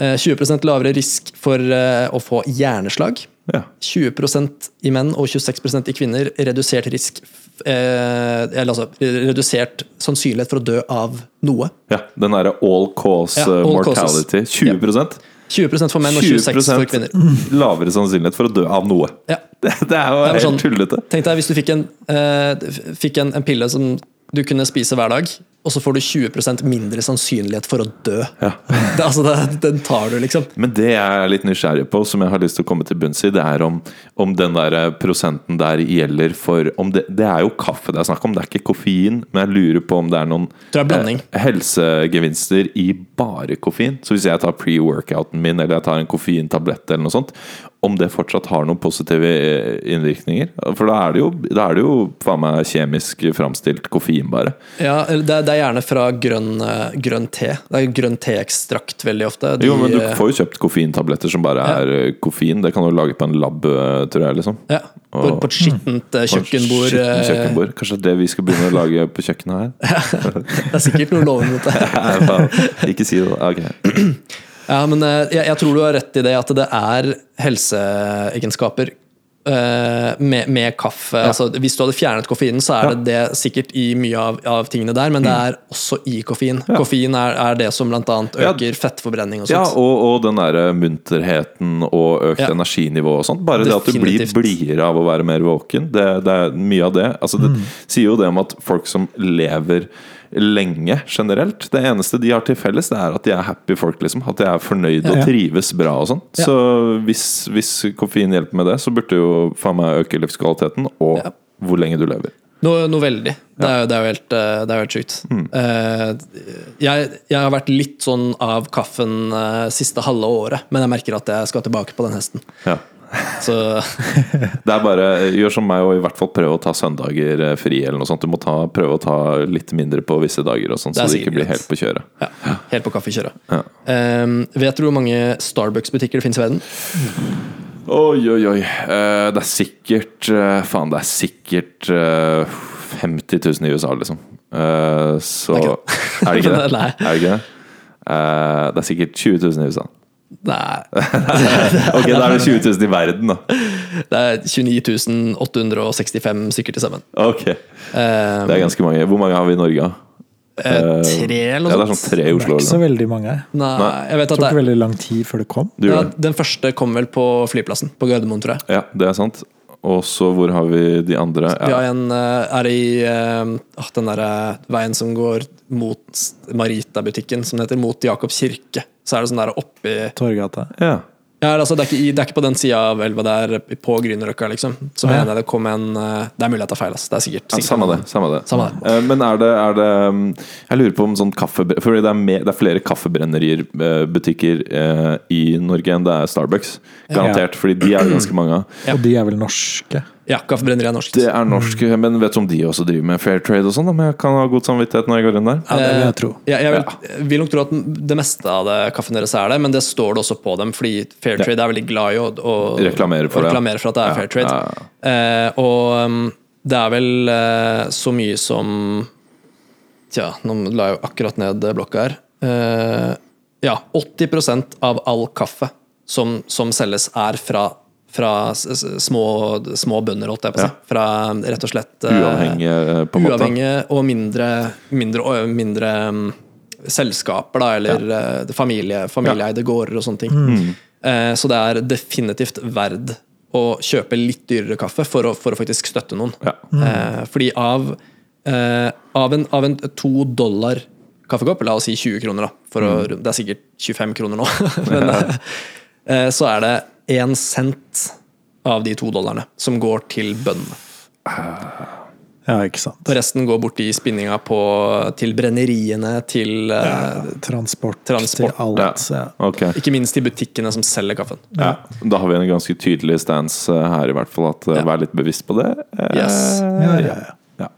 S2: Eh, 20 lavere risk for eh, å få hjerneslag.
S1: Ja.
S2: 20 i menn og 26 i kvinner redusert risk eh, Eller altså redusert sannsynlighet for å dø av noe.
S1: ja den derre all cause
S2: Ja, all
S1: eh,
S2: causes.
S1: mortality. 20
S2: 20 for menn og 26 for kvinner.
S1: 20 lavere sannsynlighet for å dø av noe.
S2: Ja.
S1: Det, det er jo
S2: Det er
S1: helt
S2: sånn-
S1: tullete.
S2: Tenk deg hvis du fikk en, eh, f- fikk en, en pille som du kunne spise hver dag, og så får du 20 mindre sannsynlighet for å dø. Det, altså, det, den tar du, liksom.
S1: Men det jeg er litt nysgjerrig på, som jeg har lyst til å komme til bunns i, det er om, om den der eh, prosenten der gjelder for om det, det er jo kaffe det er snakk om, det er ikke koffein. Men jeg lurer på om det er noen
S2: Tror det er blanding.
S1: eh, helsegevinster i bare koffein. Så hvis jeg tar pre-workouten min eller jeg tar en koffeintablett, eller noe sånt, om det fortsatt har noen positive eh, innvirkninger? For da er det jo, da er det jo faen meg kjemisk framstilt koffein, bare.
S2: Ja, eller det, er- det er gjerne fra grønn, eh, grønn te. Det er grønn teekstrakt veldig ofte. De,
S1: Jo, men du
S2: eh,
S1: får jo kjøpt koffeintabletter som bare er eh, koffein. Det kan du lage på en lab, eh, tror jeg. liksom
S2: ja, på,
S1: og-
S2: på et skittent eh, kjøkkenbord.
S1: Skitten
S2: eh,
S1: kjøkkenbord. Kanskje det er det vi skal begynne å lage på kjøkkenet her?
S2: Det er sikkert noe lovende mot det.
S1: Nei, faen. Ikke si det. Ok.
S2: Ja, men eh, jeg, jeg tror du har rett i det at det er helseegenskaper eh, med, med kaffe. Altså, hvis du hadde fjernet koffeinen, så er det det sikkert i mye av, av tingene der, men det er også i koffein. Koffein er, er det som blant annet
S1: Ja.
S2: øker fettforbrenning og
S1: Ja,
S2: sånt.
S1: og, og den derre munterheten og økt
S2: Ja.
S1: energinivå og sånt. Bare det at du blir
S2: Definitivt.
S1: blidere av å være mer våken. Det, det er mye av det. Altså, det sier jo det om at folk som lever lenge generelt Det eneste de har til felles, det er at de er happy folk, liksom. At de er fornøyd
S3: Ja.
S1: og trives bra og sånn.
S2: Ja.
S1: Så hvis, hvis koffein hjelper med det, så burde det jo faen meg øke livskvaliteten og
S2: Ja.
S1: hvor lenge du lever.
S2: Noe, noe veldig. Det, er, jo- det er jo helt, eh, det er jo helt sjukt. Eh, jeg, jeg har vært litt sånn av kaffen eh, siste halve året, men jeg merker at jeg skal tilbake på den hesten.
S1: Ja.
S2: Så
S1: Det er bare, Gjør som meg og i hvert fall prøv å ta søndager eh, fri. eller noe sånt Du må ta, prøve å ta litt mindre på visse dager, og sånt,
S2: Det er
S1: så det ikke
S2: sikkert
S1: blir
S2: greit.
S1: helt på kjøret.
S2: ja, helt på kaffekjøret.
S1: Ja.
S2: Eh, vet du hvor mange Starbucks-butikker det finnes i verden?
S1: Oi, oi, oi. Eh, Det er sikkert eh, Faen, det er sikkert eh, 50 000 i USA, liksom. Eh, Så
S2: Det er
S1: Er det ikke det?
S2: Nei.
S1: Er det ikke det? Eh, Det er sikkert 20 000 i USA.
S2: Nei,
S1: Ok, da er det 20 000 i verden, da.
S2: det er 29 865 stykker til sammen.
S1: Ok, Det
S2: Eh,
S1: er ganske mange. Hvor mange har vi i Norge? da?
S2: eh, tre
S1: Ja,
S2: eller
S1: det
S2: noe
S1: er
S2: sånt?
S1: sånn tre i
S3: Det er
S1: Oslo.
S3: ikke
S1: Eller
S3: så
S1: noe.
S3: veldig mange.
S2: Nei,
S1: Nei.
S2: jeg vet at
S3: Det
S2: det
S3: tok
S2: er
S3: veldig lang tid før det kom.
S1: Du
S2: ja,
S1: gjør det.
S2: Den første kom vel på flyplassen, på Gardermoen, tror jeg.
S1: Ja, det er sant. Og så hvor har vi de andre?
S2: Vi
S1: Ja.
S2: har en eh, er i eh, ah, den der eh, veien som går mot Marita-butikken, som det heter, mot Jakobs kirke. Så er det sånn der oppi
S3: Torgata.
S1: ja.
S2: ja, altså, det, er ikke, i- det er ikke på den sida av elva, det er på Grünerløkka, liksom. Så
S3: Ja.
S2: mener jeg det kom en eh, Det er mulig jeg tar feil, ass. Det er sikkert.
S1: Ja,
S2: sikkert.
S1: samme det. Samme det.
S2: Samme det.
S1: Eh, Men er det, er det mm, Jeg lurer på om sånn kaffe... For det er, mer, det er flere kaffebrennerier, eh, butikker, eh, i Norge enn det er Starbucks. Garantert, fordi de er det ganske mange av.
S2: Ja.
S3: Og de er vel norske.
S2: Ja, Kaffebrenneriet er norsk.
S1: Det er norsk, men vet du om de også driver med fair trade og sånn? da? Men jeg kan ha god samvittighet når jeg går inn der.
S3: Ja, det vil jeg
S2: Eh,
S3: tro.
S2: Jeg, jeg vil, vil nok tro at det meste av det kaffen deres er det, men det står det også på dem, fordi Fair Trade er veldig glad i å, å
S1: Reklamere for
S2: å
S1: det, ja.
S2: reklamere for at det er
S1: Ja,
S2: Fair Trade.
S1: ja,
S2: Eh, og um, det er vel eh, så mye som Tja, nå la jeg jo akkurat ned blokka her. Eh, ja, 80 av all kaffe som, som selges, er fra, fra s- s- små, små bønder, holdt jeg på å si. Fra rett og slett eh,
S1: Uavhengig, eh, på en måte.
S2: uavhengige og mindre, mindre, og mindre um, selskaper, da, eller eh, familie, familieeide gårder og sånne ting. Eh, så det er definitivt verd å kjøpe litt dyrere kaffe for å, for å faktisk støtte noen.
S1: Ja.
S2: Eh, fordi av, eh, av, en, av en to dollar kaffekopp, la oss si 20 kroner, da, for å, runde- det er sikkert 25 kroner nå, men, eh, så er det én cent av de to dollarene som går til bøndene.
S3: Ja, ikke sant.
S2: Og resten går bort i spinninga på, til brenneriene, til eh,
S3: Transport,
S2: Transport.
S3: til alt. Ja.
S1: Ok.
S2: Ikke minst til butikkene som selger kaffen.
S1: Ja. Da har vi en ganske tydelig stance eh, her, i hvert fall. At eh,
S2: Ja.
S1: Vær litt bevisst på det. Eh,
S2: Yes.
S3: Ja, ja, ja.
S1: ja.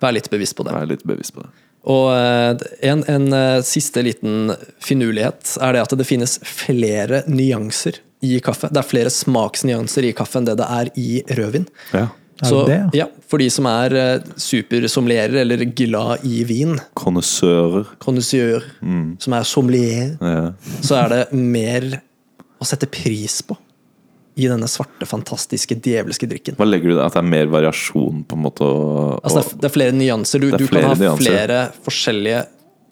S2: Vær litt bevisst på det.
S1: Vær litt bevisst på det.
S2: Og eh, en, en eh, siste liten finurlighet er det at det finnes flere nyanser i kaffe. Det er flere smaksnyanser i kaffe enn det det er i rødvin.
S1: Ja.
S3: det
S2: Så
S3: det?
S2: ja, for de som er eh, supersommelierer eller glad i vin,
S1: Kondisører.
S2: connoisseur,
S3: Mm.
S2: som er sommelier,
S1: Ja.
S2: så er det mer å sette pris på i denne svarte, fantastiske, djevelske drikken.
S1: Hva legger du i det? At det er mer variasjon, på en måte? Og,
S2: Altså, det, er, det er flere nyanser. Du,
S1: Det er
S2: du kan
S1: flere
S2: ha
S1: nyanser.
S2: flere forskjellige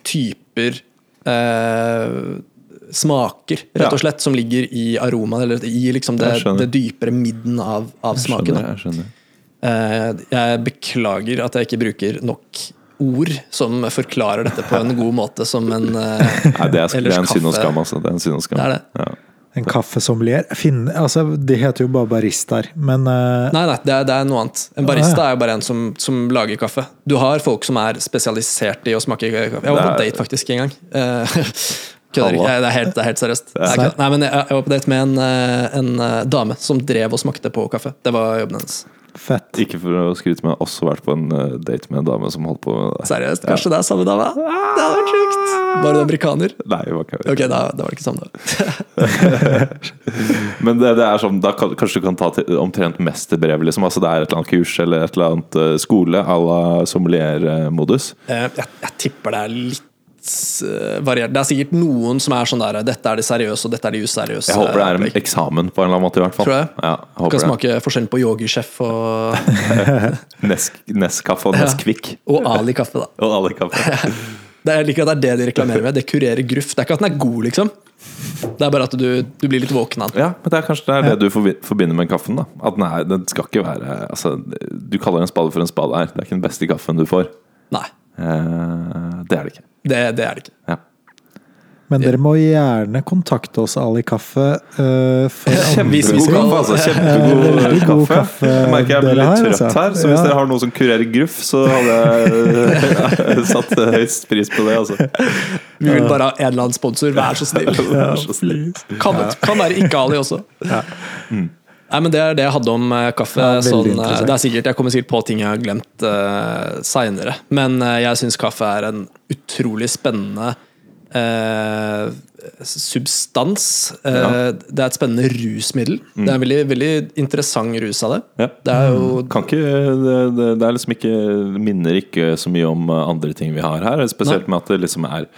S2: typer eh, smaker,
S1: Ja.
S2: rett og slett, som ligger i aromaen, eller i liksom det,
S1: Jeg skjønner.
S2: det dypere midden av,
S1: og,
S2: av
S1: skjønner,
S2: smaken. da.
S1: jeg skjønner.
S2: Eh, jeg beklager at jeg ikke bruker nok ord som forklarer dette på en god måte, som en
S1: Nei,
S2: eh,
S1: det, er, det
S2: ellers
S1: er en synd og
S2: kaffe-
S1: skam, altså. Det er en synd og skam.
S2: Det er det.
S1: Ja.
S3: En kaffesommelier Finn, altså, De heter jo bare baristaer, men eh,
S2: Nei, nei, det er, det er noe annet. En barista
S3: Ah, ja.
S2: er jo bare en som, som lager kaffe. Du har folk som er spesialisert i å smake kaffe. Jeg var på
S1: Det er-
S2: date faktisk en gang. Eh, Kødder ikke.
S1: Halla.
S2: Jeg- Det er helt, det er helt seriøst. Det er
S3: Serr?
S2: ikke- Nei, men jeg, jeg var på date med en, eh, en eh, dame som drev og smakte på kaffe. Det var jobben hennes.
S3: fett.
S1: Ikke for å skryte, men jeg har også vært på en eh, date med en dame som holdt på med det.
S2: Seriøst, kanskje det er samme dame? Det hadde vært sjukt! Var hun amerikaner?
S1: Nei, det var ikke det.
S2: Ok, da, da var det ikke samme dame.
S1: Men det, det er sånn, da kan, kanskje du kan ta til, omtrent mesterbrev, liksom. Altså det er et eller annet kurs eller et eller annet eh, skole à la sommeliermodus.
S2: Eh, Jeg, jeg tipper det er litt litt eh, variert. Det er sikkert noen som er sånn der Dette er de seriøse, og dette er Eh, de useriøse.
S1: Jeg håper det er
S2: opplegg.
S1: en eksamen på en eller annen måte, i hvert fall.
S2: Tror jeg.
S1: Ja, jeg
S2: Kan
S1: håper det.
S2: smake forskjell på yogisjef og,
S1: Nes- Nescafé og Nesquik.
S2: og Ali-kaffe, da.
S1: Og alle kaffe.
S2: Det er, jeg liker at det er det de reklamerer med. Det kurerer gruff. Det er ikke at den er god, liksom. Det er bare at du, du blir litt våken av den.
S1: Ja, men det er kanskje det er det du forbi- forbinder med kaffen. da At den, er, den skal ikke være altså, Du kaller en spade for en spade her. Det er ikke den beste kaffen du får.
S2: Nei,
S1: Eh, det er det ikke.
S2: det, det er det ikke.
S1: Ja.
S3: Men dere må gjerne kontakte oss, Ali Kaffe. eh, for andre-
S2: Hvis vi
S1: Kjempegod
S2: skal-
S1: kaffe, altså. Kjempegod
S3: Veldig god
S1: kaffe.
S3: kaffe
S1: Jeg merker jeg blir
S3: dere
S1: litt
S3: har,
S1: trøtt
S3: altså.
S1: her, så hvis
S3: Ja.
S1: dere har noe som kurerer gruff, så hadde jeg eh, satt eh, høyst pris på det, altså.
S2: Vi vil bare ha en eller annen sponsor, vær så snill.
S1: Vær så snill.
S2: Kan, kan være ikke Ali også.
S1: Mm.
S2: Nei, men Det er det jeg hadde om eh, kaffe.
S3: Ja, veldig
S2: sånn, eh,
S3: interessant.
S2: det er sikkert, Jeg kommer sikkert på ting jeg har glemt uh, seinere. Men eh, jeg syns kaffe er en utrolig spennende eh, substans. Eh,
S1: Ja. Mm.
S2: Det er et spennende rusmiddel. Det er en veldig, veldig interessant rus av det.
S1: Ja. Mm.
S2: Det er jo
S1: Kan ikke, det, det, det er liksom ikke minner ikke så mye om eh, andre ting vi har her. Spesielt med at det liksom er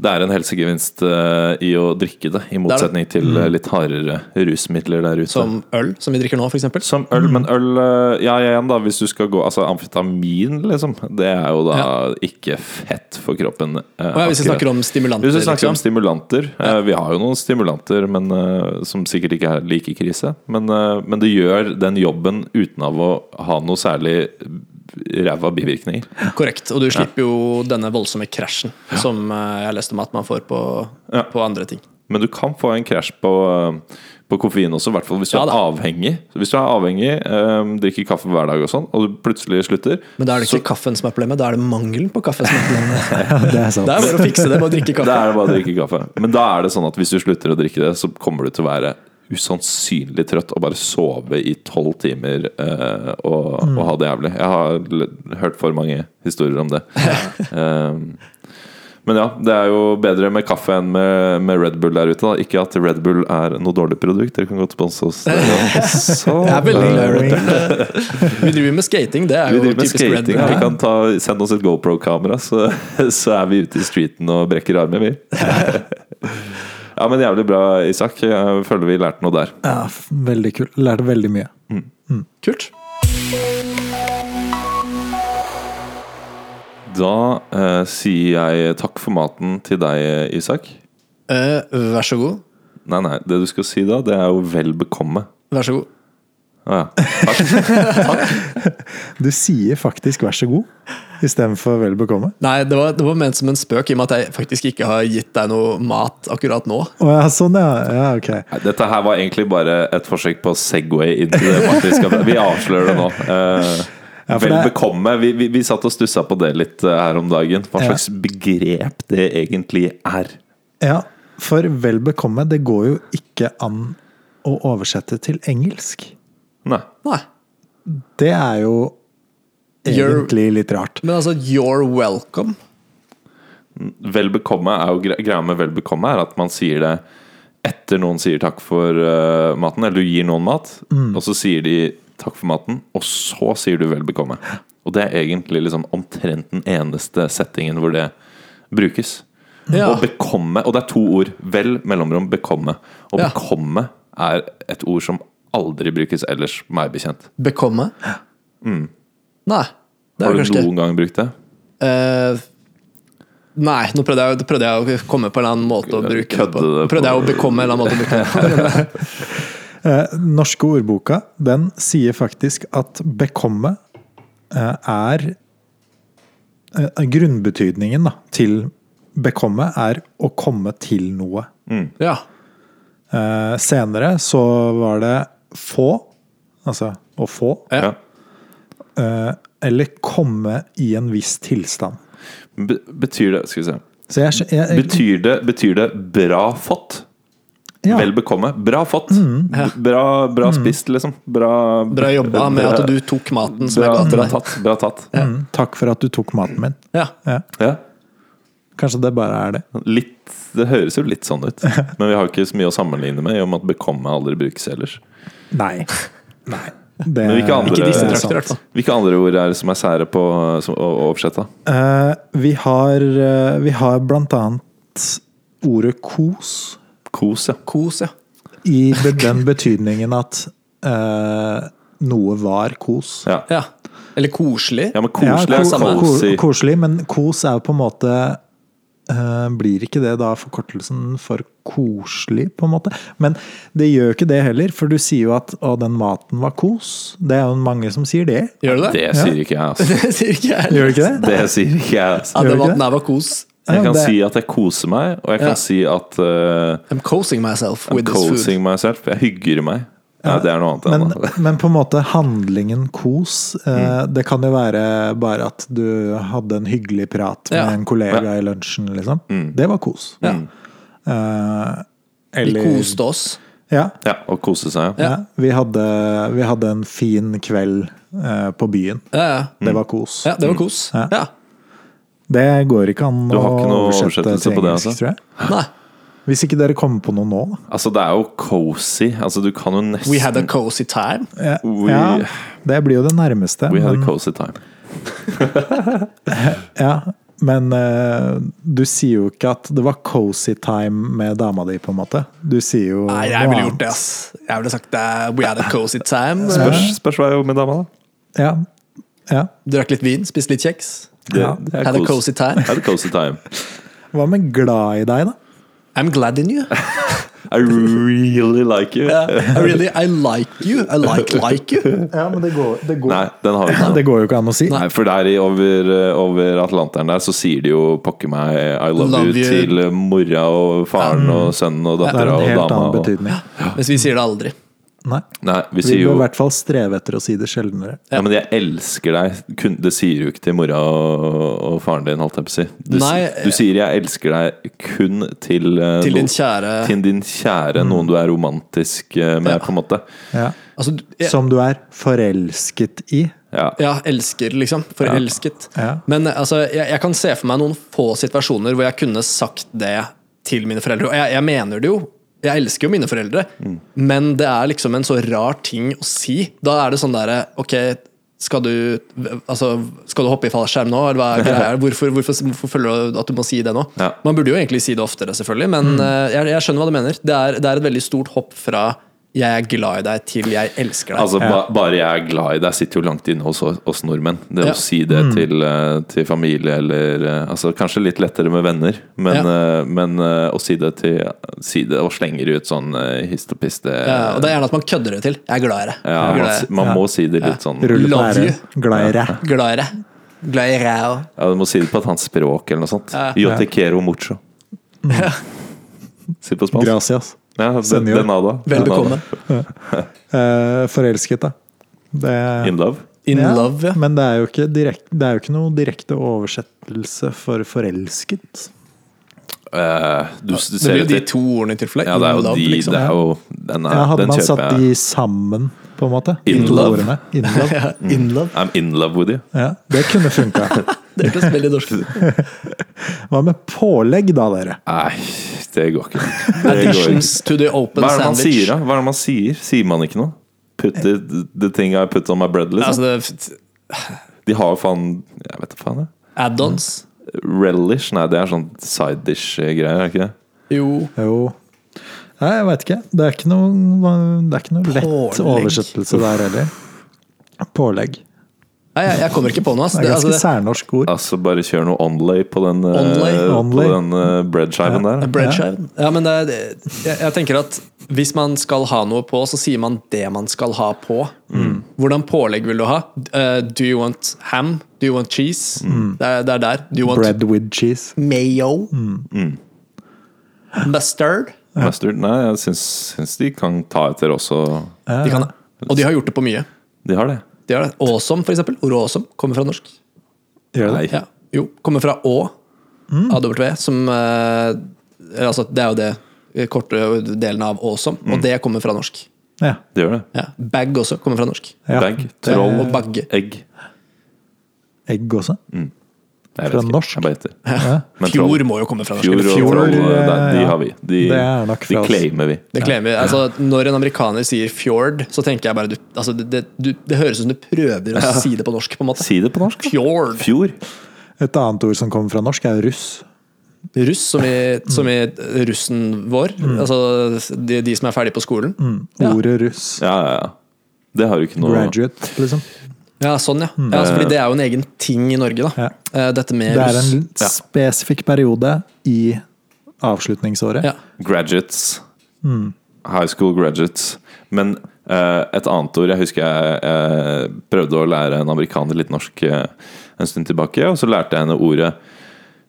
S1: Det er en helsegevinst eh, i å drikke det, i motsetning til eh, litt hardere rusmidler der ute. Som,
S2: Mm. som Mm. øl, som vi drikker nå, f.eks.
S1: øl, men øl eh, Ja, igjen, da, hvis du skal gå Altså amfetamin, liksom. Det er jo da ikke fett for kroppen. eh,
S2: Ja, hvis vi
S1: akkurat.
S2: snakker om stimulanter.
S1: Hvis vi snakker om
S2: liksom.
S1: stimulanter eh, Vi har jo noen stimulanter men, eh, som sikkert ikke er like krise. Men, eh, men det gjør den jobben uten av å ha noe særlig ræva bivirkninger.
S2: Korrekt. Og du slipper jo denne voldsomme krasjen som eh, jeg leste om at man får på,
S1: Ja.
S2: på andre ting.
S1: Men du kan få en krasj på, eh, på koffein også, i hvert fall hvis du
S2: Ja
S1: er
S2: da.
S1: avhengig. Så Hvis du er avhengig, eh, drikker kaffe hver dag og sånn, og du plutselig slutter
S2: Men da er det ikke kaffen som er problemet, da er det mangelen på kaffe som er problemet.
S3: Det er
S2: Det
S3: sant.
S2: er bare å fikse det, bare drikke
S1: Da
S2: kaffe.
S1: er det bare å drikke kaffe. Men da er det sånn at hvis du slutter å drikke det, så kommer du til å være usannsynlig trøtt og bare sove i tolv timer eh, og,
S2: Mm.
S1: og ha det jævlig. Jeg har l- hørt for mange historier om det. Um, men ja, det er jo bedre med kaffe enn med, med Red Bull der ute. Da. Ikke at Red Bull er noe dårlig produkt. Dere kan godt sponse oss. dere også.
S2: Jeg er veldig glad i Red Bull. Vi driver med skating, det er
S1: Vi
S2: jo
S1: driver med
S2: typisk Red
S1: skating.
S2: Bull.
S1: da. Vi kan ta, sende oss et GoPro-kamera, så, så er vi ute i streeten og brekker armen, vi. Ja, men jævlig bra, Isak. Jeg føler vi lærte noe der.
S3: Ja, f- veldig kult. Lærte veldig mye.
S2: Kult.
S1: Da eh, sier jeg takk for maten til deg, Isak.
S2: Eh, vær så god.
S1: Nei, nei, det du skal si da, det er jo vel bekomme.
S2: Vær så god.
S1: Å ja. Takk.
S3: Du sier faktisk 'vær så god' istedenfor 'vel bekomme'.
S2: Nei, det var, det var ment som en spøk, i og med at jeg faktisk ikke har gitt deg noe mat akkurat nå.
S3: Å ja, sånn ja. ja ok.
S1: Nei, Dette her var egentlig bare et forsøk på å segway inn til det Martin skal Vi avslører det nå. Eh,
S3: Ja, for
S1: vel
S3: det-
S1: bekomme. Vi, vi, vi satt og stussa på det litt eh, her om dagen. Hva
S3: Ja.
S1: slags begrep det egentlig er.
S3: Ja, for 'vel bekomme' det går jo ikke an å oversette til engelsk.
S1: Nei.
S2: Nei.
S3: Det er jo
S2: You're-
S3: egentlig litt rart.
S2: Men altså, you're welcome.
S1: Vel bekomme er jo gre- greia med vel bekomme er at man sier det etter noen sier takk for eh, maten, eller du gir noen mat,
S2: Mm.
S1: og så sier de takk for maten, og så sier du vel bekomme. Og det er egentlig liksom omtrent den eneste settingen hvor det brukes.
S2: Ja.
S1: Og bekomme, og det er to ord. Vel mellomrom bekomme. Og
S2: Ja.
S1: bekomme er et ord som aldri brukes ellers, meg bekjent.
S2: Bekomme. Nei. Det
S1: Mm. Har
S2: er
S1: du
S2: kanskje det.
S1: noen gang brukt det?
S2: Eh, nei, nå prøvde jeg, prøvde jeg å komme på en eller annen måte å bruke det
S1: Kødde
S2: på.
S1: det på-
S2: Prøvde jeg å bekomme en eller annen måte å bruke det på.
S3: Eh, norske ordboka den sier faktisk at 'bekomme' eh, er eh, Grunnbetydningen da, til 'bekomme' er å komme til noe.
S2: Ja.
S3: Eh, senere så var det 'få', altså å få,
S2: Ja.
S1: Ja.
S3: eh, eller 'komme i en viss tilstand'.
S1: Be betyr det Skal vi se.
S3: Så jeg, skj- jeg, jeg
S1: Betyr det, betyr det bra fått?
S3: ja. Mm.
S1: Vel bekomme. Bra fått. B- Bra, bra spist, liksom. Bra,
S2: Bra jobba med
S1: bra-
S2: at du tok maten som jeg
S1: bra,
S2: ga til
S1: bra
S2: deg.
S1: tatt. Bra tatt.
S3: Mm, takk for at du tok maten min.
S2: Ja.
S3: Ja.
S1: Ja.
S3: Kanskje det bare er det.
S1: Litt, det høres jo litt sånn ut, men vi har ikke så mye å sammenligne med i og med at bekomme aldri brukes ellers.
S3: Nei. Nei. Det,
S1: Men hvilke andre,
S2: Ikke disse
S3: det er
S2: trakter, i hvert
S3: sant.
S2: fall.
S1: hvilke andre ord er det som er sære på som, og, og oppsetta?
S3: Eh, vi, har, eh, vi har blant annet ordet kos
S1: Kos, ja.
S2: Kos, ja.
S3: i be- den betydningen at eh, noe var kos.
S1: Ja,
S2: ja. Eller koselig.
S1: ja men koselig
S3: Ja,
S1: er
S3: ko-
S1: cozy.
S3: ko- koselig, men kos er jo på en måte eh, Blir ikke det da forkortelsen for koselig, på en måte? Men det gjør ikke det heller, for du sier jo at 'å, den maten var kos'. Det er jo mange som sier det.
S2: Gjør du det?
S1: Det sier ikke jeg, altså.
S2: Det sier ikke jeg.
S3: Gjør det ikke det?
S1: Det sier ikke jeg, altså.
S2: Ja,
S3: Gjør
S2: det
S3: du
S2: var
S3: ikke
S2: at den her var kos.
S1: Jeg
S3: Ja,
S1: kan
S3: det-
S1: si at jeg koser meg, og jeg
S2: Ja.
S1: kan si at eh,
S2: I'm cosing myself
S1: I'm
S2: with this food.
S1: coasing myself. Jeg hygger meg. Ja, det er noe annet enn
S3: Men,
S1: det.
S3: men på en måte handlingen kos eh,
S1: Mm.
S3: Det kan jo være bare at du hadde en hyggelig prat med
S2: Ja.
S3: en kollega i lunsjen, liksom.
S1: Mm.
S3: Det var kos. Mm.
S2: Ja.
S3: Eh,
S2: Vi
S3: eller
S2: koste oss.
S3: Ja.
S1: Ja, å kose seg. Ja.
S3: ja. Vi, hadde, vi hadde en fin kveld eh, på byen.
S2: Ja, ja.
S3: Det
S1: Mm.
S3: var kos.
S2: ja, det var kos.
S3: Mm. Ja.
S2: Ja.
S3: Det går ikke an
S1: Du
S3: å
S1: har ikke noe
S3: oversette
S1: oversettelse
S3: til
S1: på det,
S3: engelsk,
S1: altså?
S3: tror jeg.
S2: Nei.
S3: Hvis ikke dere kommer på noe nå, da.
S1: Altså, det er jo cozy. Altså, du kan jo nesten
S2: We had a cozy time.
S3: Ja,
S1: We-
S3: ja, det blir jo det nærmeste.
S1: We had a
S2: Mm.
S3: men-
S1: cozy time.
S3: Ja, men eh, du sier jo ikke at det var cozy time med dama di, på en måte. Du sier jo
S2: Nei, jeg ville gjort det, ass. Jeg ville sagt eh, we had a cozy time.
S1: Spørs, spørs hva jeg gjorde med dama, da.
S3: Ja, ja.
S2: Drakk litt vin, spiste litt kjeks.
S1: Det,
S3: Ja.
S1: det er
S2: Had a
S1: kos.
S2: cozy time.
S1: Had a cozy time.
S3: Hva med glad i deg, da?
S2: I'm glad in you.
S1: I really like you.
S2: Ja, I really, I like you. I like like you.
S3: Ja, men det går, det går.
S1: Nei, den har vi ikke.
S3: Det går jo ikke an å si.
S1: Nei, for der i over, over Atlanteren der så sier de jo pokker meg I love,
S2: Love
S1: you,
S2: you.
S1: til mora og faren og sønnen og
S3: Det er
S1: dattera
S3: en
S1: og
S3: helt
S1: dama.
S3: annen
S1: Og...
S3: betydning.
S2: Mens vi sier det aldri.
S3: Nei.
S1: Nei, vi
S3: Vi
S1: sier
S3: bør
S1: jo
S3: i hvert fall streve etter å si det sjeldnere.
S1: ja, men jeg elsker deg. Kun, det sier du ikke til mora og, og faren din, holdt jeg på å si. Du, si-
S2: Nei, eh.
S1: du sier 'jeg elsker deg' kun til eh,
S2: Til din
S1: noen-
S2: kjære- Mm.
S1: Til din kjære noen du er romantisk eh, med,
S2: Ja.
S1: på en måte.
S3: Ja.
S2: Altså, jeg,
S3: Som du er forelsket i.
S1: Ja.
S2: ja, elsker, liksom. Forelsket.
S3: Ja.
S2: Men altså, jeg, jeg kan se for meg noen få situasjoner hvor jeg kunne sagt det til mine foreldre. Og jeg, jeg mener det jo. Jeg elsker jo mine foreldre,
S3: Mm.
S2: men det er liksom en så rar ting å si. Da er det sånn derre Ok, skal du, altså, skal du hoppe i fallskjerm nå? Eller hva er greia? Hvorfor, hvorfor, hvorfor føler du at du må si det nå?
S1: Ja.
S2: Man burde jo egentlig si det oftere, selvfølgelig, men
S3: Mm.
S2: eh, jeg, jeg skjønner hva du mener. Det er, det er et veldig stort hopp fra 'jeg er glad i deg' til 'jeg elsker deg'.
S1: Altså, ba, bare jeg er glad i deg, sitter jo langt inne hos oss nordmenn. Det
S2: Ja.
S1: å si det til, eh, til familie eller eh, altså, Kanskje litt lettere med venner, men, eh, men eh, å si det til Si det og slenger ut sånn eh, hist og piste
S2: Ja, og det er gjerne at man kødder det til. Jeg er glad i deg.
S1: Ja,
S2: Jeg er
S1: man,
S2: glad i
S1: s-
S2: deg.
S1: man må si det litt sånn
S3: Rulle på
S2: Love
S3: ære. Glad i ræ.
S2: Glad i deg. Glad i deg òg.
S1: ja, Du må si det på et annet språk eller noe sånt. Yo te quiero mucho. Si det på spansk.
S3: Gracias.
S1: Ja, den,
S3: Senor.
S1: den Ada.
S2: Vel bekomme.
S3: Eh, forelsket, da. Det
S1: In love.
S2: In
S3: Ja,
S2: love, ja.
S3: Men det er jo ikke, direkt, det er jo ikke noe direkte oversettelse for forelsket.
S1: Eh, du, du
S2: Det
S1: ser
S2: blir jo de
S1: etter-
S2: to ordene i tilfelle.
S1: Ja, det er
S2: In
S1: jo
S2: love,
S1: de
S2: liksom.
S1: det er jo, Den, er,
S3: Ja, hadde
S1: den
S3: man
S1: kjøper
S3: satt
S1: jeg.
S3: de sammen, på en måte?
S1: In
S3: de to
S1: love.
S3: ordene. In love.
S2: Ja, In love.
S1: I'm in love with you.
S3: Ja, det kunne funka.
S2: Det hørtes veldig norsk ut.
S3: Hva med pålegg, da, dere?
S1: Nei, det går ikke. Det går ikke.
S2: Additions to the open
S1: Hva er det man
S2: sandwich.
S1: sier, da? Hva er det man Sier Sier man ikke noe? Put the, the thing I put on my bread, liksom.
S2: Altså, det er
S1: De har jo faen Jeg vet da faen, jeg.
S2: add-ons.
S1: Relish? Nei, det er sånn side dish-greier, er ikke det?
S2: Jo.
S3: Jo Nei, jeg veit ikke. Det er ikke noe, det er ikke noe lett
S2: Pålegg.
S3: oversettelse der heller. Pålegg.
S2: Nei, jeg, jeg kommer ikke på noe. ass.
S3: Det er
S2: Det-
S3: ganske
S2: altså,
S3: særnorsk ord.
S1: Altså, bare kjør noe onlay på den, eh,
S2: Onlay?
S3: Onlay.
S1: På den eh, breadskiven der. da.
S2: Breadskiven. Ja, men det, er- det- jeg, jeg tenker at hvis man skal ha noe på, så sier man det man skal ha på. Hvordan pålegg vil du ha? Eh, do you want ham? Do you want cheese? Det, er, det er der. Do you want
S3: Bread with cheese.
S2: mayo? Mustard?
S1: Mustard? Nei, jeg syns, syns de kan ta etter også.
S2: De kan, og de har gjort det på mye.
S1: De har det.
S2: De har det. Awesome, for eksempel. Ordet awesome kommer fra norsk.
S3: Gjør det?
S1: Nei.
S2: Ja. Jo, kommer fra å. AW, som eh, eller altså, Det er jo det eh, korte delen av awesome, og det kommer fra norsk.
S3: Ja.
S1: De gjør det.
S2: Ja. Bag også kommer fra norsk.
S3: ja.
S1: Bag, troll,
S2: Og bagge.
S1: egg.
S3: Egg også.
S1: Jeg
S3: Fra
S1: vet ikke.
S3: norsk?
S1: Jeg bare gjetter.
S3: Ja.
S1: Men troll-
S2: Fjord må jo komme fra norsk.
S1: Fjord og
S3: Fjord,
S1: troll,
S3: eh,
S1: der- de
S3: ja.
S1: har vi. De,
S3: Det er nok fra
S1: de
S3: oss.
S1: claimer vi.
S2: Det claimer vi. Altså, når en amerikaner sier 'fjord', så tenker jeg bare du, altså, det, det, du, det høres ut som du prøver å si det på norsk. på en måte
S1: Si det på norsk. da.
S2: Fjord.
S1: Fjord.
S3: Et annet ord som kommer fra norsk, er russ.
S2: Russ, som i, som i eh, russen vår.
S3: Mm.
S2: Altså de, de som er ferdig på skolen. Ja.
S3: Ordet russ.
S1: Ja, ja, ja. Det har du ikke noe
S3: Graduate, liksom.
S2: ja, sånn, ja. ja altså, fordi det er jo en egen ting i Norge, da. Eh, Dette med
S3: Mm. Det er
S2: russ.
S3: en
S1: Ja.
S3: spesifikk periode i avslutningsåret.
S2: Ja.
S1: Graduates. High school graduates. Men eh, et annet ord Jeg husker jeg eh, prøvde å lære en amerikaner litt norsk eh, en stund tilbake, og så lærte jeg henne ordet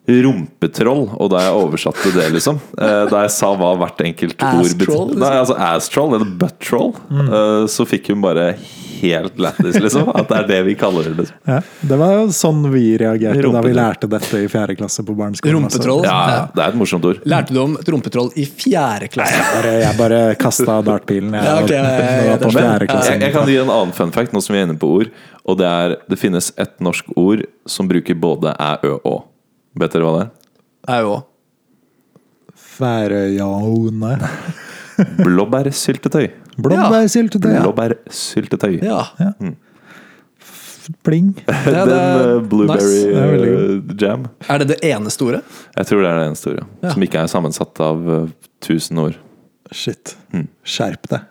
S1: rumpetroll. Og da jeg oversatte det, liksom eh, Da jeg sa hva hvert enkelt ord
S2: Ass-troll, liksom?
S1: Nei, altså ass-troll eller butt-troll, eh, så fikk hun bare helt lættis, liksom. At det er det vi kaller det. liksom
S3: Ja, det var jo sånn vi reagerte da vi
S1: Rumpetroll.
S3: lærte dette i fjerde klasse på barneskolen. altså.
S2: Rumpetroll.
S1: Ja, ja, det er et morsomt ord.
S2: Lærte du om et rumpetroll i fjerde klasse?
S3: Bare, jeg bare kasta dartpilen, jeg.
S2: Ja, ok, ja, ja, ja,
S3: når jeg var på
S1: Men
S3: fjerde klasse.
S1: jeg, jeg kan gi en annen fun fact, nå som vi er inne på ord. Og det er det finnes et norsk ord som bruker både æ, ø, å. Vet dere hva det er?
S2: Jeg òg.
S3: Færøyane.
S1: Blåbærsyltetøy.
S3: Blåbærsyltetøy. Ja.
S1: Blåbærsyltetøy.
S2: Ja.
S3: Pling.
S2: Det er,
S1: Den eh,
S2: det,
S1: blueberry
S2: nice.
S3: Det er veldig
S1: eh, jam.
S2: er det det eneste ordet?
S1: Jeg tror det er det eneste ordet.
S2: Ja.
S1: Som ikke er sammensatt av eh, tusen ord.
S3: Shit. Hmm. Skjerp deg.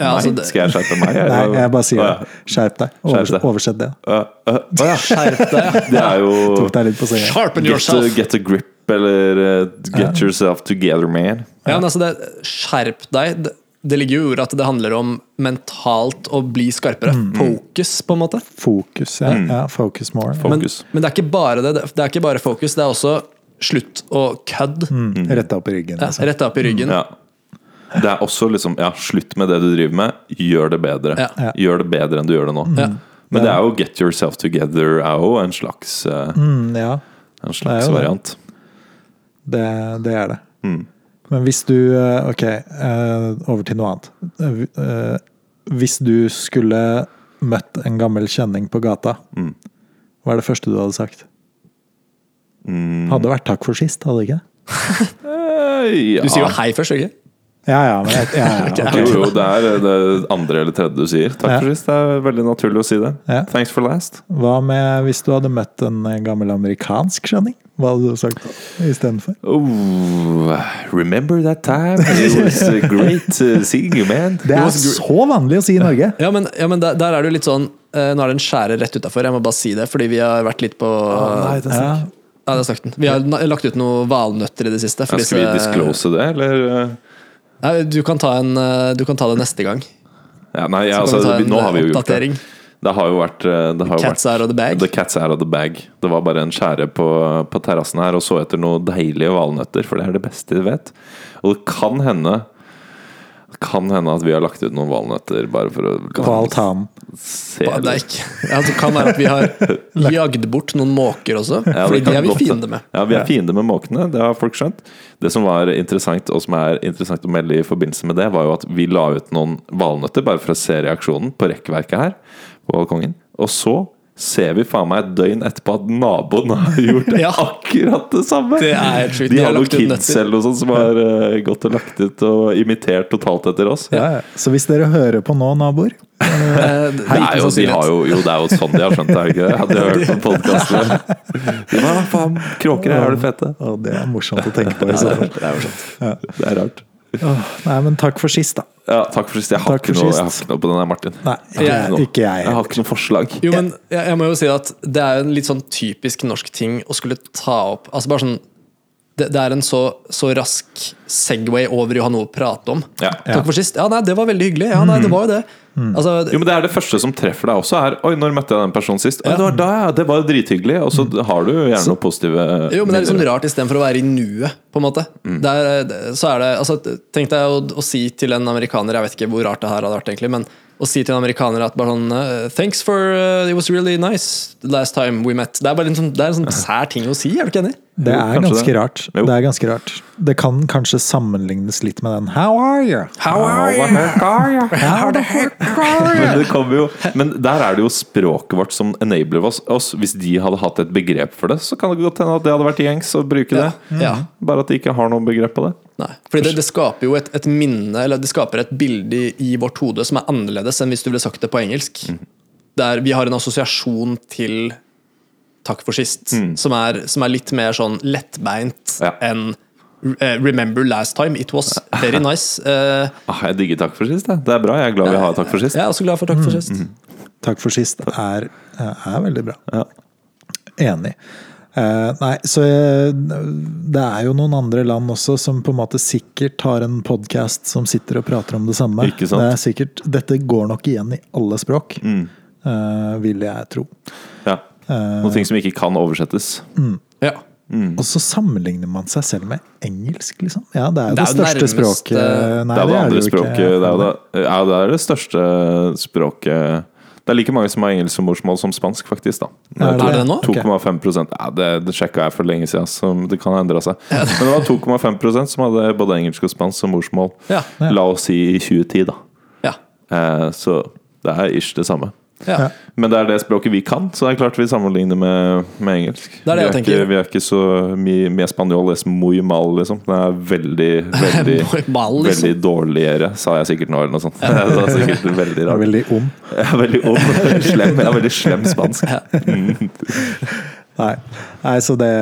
S2: Ja, altså, det,
S1: Skal jeg skjerpe meg? eller?
S3: Nei, jeg bare sier
S1: Å, ja.
S3: det. Skjerp deg.
S1: Skjerp deg.
S3: Overs oversett det.
S1: Å, å, å, ja.
S2: Skjerp deg. ja.
S1: Det er jo
S3: Tok deg litt på sida.
S2: Sharpen
S1: get a,
S2: yourself.
S1: get a grip eller eh, get yourself together, man.
S2: Ja, men altså, det, skjerp deg. Det, det ligger jo i ordet at det handler om mentalt å bli skarpere.
S1: Mm,
S2: Focus, på en måte.
S3: Fokus. Ja. ja, focus more.
S2: Men,
S1: Fokus.
S2: men det er ikke bare det. Det er ikke bare fokus, det er også slutt å kødd.
S3: Mm. Rett deg opp i ryggen.
S2: Ja,
S3: Altså.
S2: rett deg opp i ryggen.
S1: Ja. Det er også liksom Ja, slutt med det du driver med. Gjør det bedre.
S2: Ja.
S3: Ja.
S1: Gjør det bedre enn du gjør det nå.
S2: Ja.
S1: Men det er jo Get Yourself Together er jo en slags, eh,
S3: Mm, ja,
S1: en slags
S3: Det er jo det.
S1: variant.
S3: det, det er det. Men hvis du eh, Ok, eh, over til noe annet. Eh, eh, Hvis du skulle møtt en gammel kjenning på gata, hva er det første du hadde sagt? Hadde det vært 'takk for sist', hadde det ikke?
S1: Eh, ja.
S2: Du sier jo hei først, ikke
S3: Ja ja, men jeg, ja, ja, ok.
S1: Jo, jo, det er eh, det andre eller tredje du sier. Takk
S3: Ja.
S1: for sist. Det er veldig naturlig å si det.
S3: Ja.
S1: Thanks for last.
S3: Hva med hvis du hadde møtt en eh, gammel amerikansk kjenning? Hva hadde du sagt istedenfor?
S1: Oh, remember that time? It was eh, great eh, seeing you, man.
S3: Det er så vanlig å si i Norge!
S2: Ja, men, ja, men der, der er det jo litt sånn eh, Nå er det en skjære rett utafor, jeg må bare si det, fordi vi har vært litt på
S1: Nei, det er sant.
S3: Ja,
S2: Ja, det er snakket. Vi har na- lagt ut noen valnøtter i det siste. for
S1: Ja, Skal vi
S2: disse-
S1: disclose det, eller? eh?
S2: Nei, du, kan ta en, eh, du kan ta det neste gang.
S1: Ja, nei, ja, altså,
S2: Så kan vi ta en eh,
S1: nå har vi jo gjort det.
S2: oppdatering.
S1: Det har jo vært eh, det har jo
S2: Cats
S1: vært-
S2: out of the bag.
S1: The cats out of the bag. Det var bare en skjære på, på terrassen her og så etter noen deilige valnøtter, for det er det beste de vet. Og det kan hende det kan hende at vi har lalt ut noen valnøtter bare for å
S3: På altanen.
S1: se
S2: Ba- Det er
S1: litt.
S2: ikke, ja, det kan være at vi har jagd bort noen måker også,
S1: Ja, det
S2: fordi de
S1: kan
S2: er vi
S1: godt-
S2: fiender med.
S1: Ja, vi er fiender med måkene, det har folk skjønt. Det som var interessant, og som er interessant å melde i forbindelse med det, var jo at vi la ut noen valnøtter, bare for å se reaksjonen, på rekkverket her på balkongen. Og så ser vi faen meg et døgn etterpå at naboen har gjort
S2: Ja.
S1: akkurat det samme!
S2: Det er helt sjukt.
S1: De
S2: De
S1: har
S2: har
S1: noen
S2: lagt ut
S1: kids
S2: nøtter.
S1: eller noe sånt som har eh, gått og lagt ut og imitert totalt etter oss.
S3: Ja, ja. Så hvis dere hører på nå, naboer
S2: Eh,
S1: Det er jo, de har jo, jo, det er jo sånn de har skjønt det, er det ikke det? Hadde jeg hørt på podkastene. Hva faen? Kråker er det fete.
S3: Å, det er morsomt å tenke på. i så fall.
S1: Det er rart.
S3: Åh, Nei, men takk for sist, da.
S1: Ja, takk for sist. Jeg har,
S3: Takk
S1: ikke
S3: for
S1: noe,
S3: sist.
S1: jeg har ikke noe på den her, Martin.
S3: Nei, ikke
S1: Jeg har
S3: jeg.
S1: noe.
S3: Ikke jeg.
S1: Jeg har ikke noe forslag.
S2: Jo, men jeg, jeg må jo si at det er jo en litt sånn typisk norsk ting å skulle ta opp Altså bare sånn Det, det er en så, så rask Segway over i å ha noe å prate om.
S1: Ja. Mhm.
S2: Takk for sist. Ja, nei, det var veldig hyggelig. Ja, nei, det var jo det. Altså,
S1: Jo, men Det er det første som treffer deg også. er Oi, når møtte jeg den personen sist? Oi, det var da, ja. Det var jo drithyggelig. Og så har du gjerne noe positive
S2: Jo, men det Mm. er liksom
S1: minner.
S2: rart istedenfor å være i nuet, på en måte. eh, Der, så er det, altså, tenk deg å, å si til en amerikaner Jeg vet ikke hvor rart det her hadde vært, egentlig, men å si til en amerikaner at bare sånn eh, Thanks for eh, It was really nice last time we met. Det er bare en sånn, det er en sånn sær ting å si, er du ikke enig?
S3: Det
S1: Jo,
S3: er
S1: kanskje
S3: ganske
S1: det.
S3: rart.
S1: Jo.
S3: Det er ganske rart. Det kan kanskje sammenlignes litt med den How are you?
S2: How are you? How the heck are you?
S1: Men, det kommer jo, men der er det jo språket vårt som enabler oss, oss. Hvis de hadde hatt et begrep for det, så kan det godt hende at det hadde vært gjengs å bruke
S2: Ja.
S1: det.
S2: Ja.
S1: Bare at de ikke har noe begrep på det.
S2: Nei, fordi det, det skaper jo et, et minne, eller det skaper et bilde i, i vårt hode som er annerledes enn hvis du ville sagt det på engelsk.
S1: Mhm.
S2: Der vi har en assosiasjon til 'takk for sist', som, er, som er litt mer sånn lettbeint
S1: Mhm. Ja.
S2: enn eh, 'remember last time, it was very nice'. Eh,
S1: Ah, jeg digger takk for sist. Jeg. Det er bra. Jeg er glad vi har takk for sist. Mhm.
S2: jeg er også glad for 'takk for sist'.
S3: Takk for sist er, eh, er veldig bra.
S1: Ja.
S3: Enig. Eh, nei, så eh, det er jo noen andre land også som på en måte sikkert har en podkast som sitter og prater om det samme.
S1: Ikke sant? Mm.
S3: Det er sikkert, dette går nok igjen i alle språk, eh, vil jeg tro.
S1: Ja. Noen ting som ikke kan oversettes.
S2: Ja.
S3: Og så sammenligner man seg selv med engelsk, liksom. Ja, det er
S2: Det
S3: jo
S2: er jo
S3: det,
S2: eh,
S3: største
S2: nærmeste-
S3: språket Nei,
S1: det er det andre
S3: jo ikke.
S1: språket det er, jo det, ja, det er det største språket Det er like mange som har engelsk som morsmål som spansk, faktisk. da
S3: Er det
S2: Er det nå?
S3: Ok.
S1: 2,5 ja, Det, det sjekka jeg for lenge siden, så det kan ha endra seg. Men det var 2,5 som hadde både engelsk og spansk som morsmål.
S2: Ja.
S1: La oss si i 2010, da.
S2: Ja.
S1: Eh, så det er ish det samme.
S2: ja.
S1: Men det er det språket vi kan, så det er klart vi sammenligner med, med engelsk.
S2: Det er det
S1: vi, er
S2: jeg
S1: ikke,
S2: tenker.
S1: vi er ikke så mye med spanjol es muy mal, liksom. Det er veldig, veldig
S2: Muy mal, liksom.
S1: Veldig dårligere, sa jeg sikkert nå, eller noe sånt. Jeg sa sikkert veldig
S3: Det er
S1: rart.
S3: veldig om.
S1: Jeg er veldig ond og veldig slem. Jeg er veldig slem spansk.
S3: Nei, Nei så det,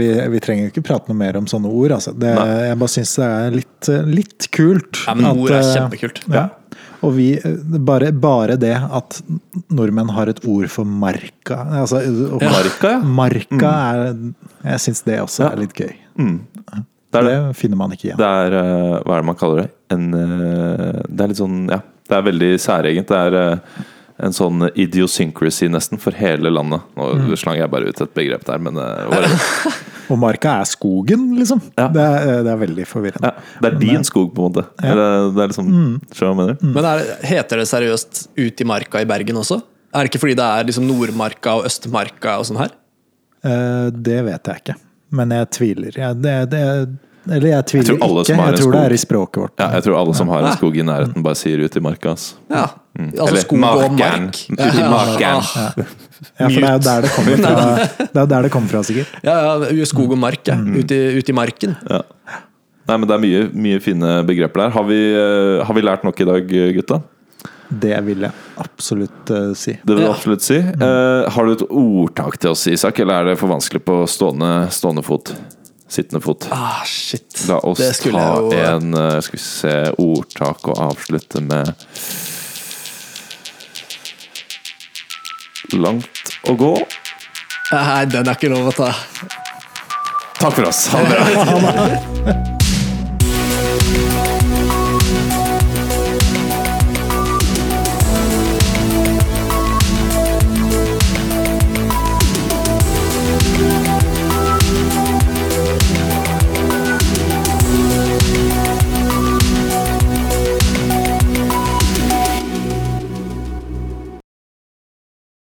S3: vi, vi trenger ikke prate noe mer om sånne ord. Altså. Det,
S1: Nei.
S3: jeg bare syns det er litt, eh, litt kult.
S2: Ja, men ord er
S3: eh,
S2: kjempekult.
S3: Ja. Og vi, eh, bare, bare det at nordmenn har et ord for marka altså, og-
S1: Marka, ja. Mm.
S3: Marka er Jeg syns det også
S1: Ja. Mm.
S3: er litt gøy.
S1: Det er det.
S3: det. finner man ikke igjen.
S1: Det er eh, Hva er det man kaller det? En, eh, det er litt sånn Ja, det er veldig særegent. Det er eh, en sånn idiosyncrasy, nesten, for hele landet.
S2: Mm.
S1: Nå slang jeg bare ut et begrep der, men eh, whatever.
S3: Og marka er skogen, liksom.
S1: Ja.
S3: Det, er, eh, det er veldig forvirrende.
S1: ja, Det er
S2: eh,
S1: din skog, på en måte. Eller, det er liksom
S2: Mm.
S1: Skjønner du hva jeg mener?
S2: Men er, heter det seriøst 'Ut i marka' i Bergen også? Er det ikke fordi det er liksom Nordmarka og Østmarka og sånn her?
S3: Eh, Det vet jeg ikke, men jeg tviler. Jeg, det, det, eller jeg tviler
S1: tror alle
S3: ikke.
S1: som har
S3: Jeg
S1: en
S3: tror det er
S1: skog-
S3: i språket vårt.
S1: Ja, jeg tror alle som har
S2: Ah.
S1: en skog i nærheten, bare sier 'ut i marka'. ass.
S2: Ja. Altså
S1: Mm. Eller
S2: skog og
S1: markeren.
S2: mark.
S1: Ut i markeren.
S2: Ja,
S3: Ja, for det er jo der det kommer fra, det er jo der det kommer fra sikkert.
S2: ja, ja, skog og mark, ja.
S1: Mm.
S2: Ute, i, ute i marken.
S1: Nei, men Det er mye, mye fine begreper der. Har vi, eh, har vi lært nok i dag, gutta?
S3: Det vil jeg absolutt eh, si.
S1: Det vil jeg
S2: Ja. Mm.
S1: absolutt si. Eh, har du et ordtak til oss, Isak, eller er det for vanskelig på stående, stående fot? Sittende fot.
S2: Ah, shit.
S1: La oss
S2: Det skulle
S1: ta
S2: jeg jo-
S1: en eh, Skal vi se ordtak og avslutte med Langt å gå.
S2: Nei, den er ikke lov å ta.
S1: Takk for oss. Ha det bra.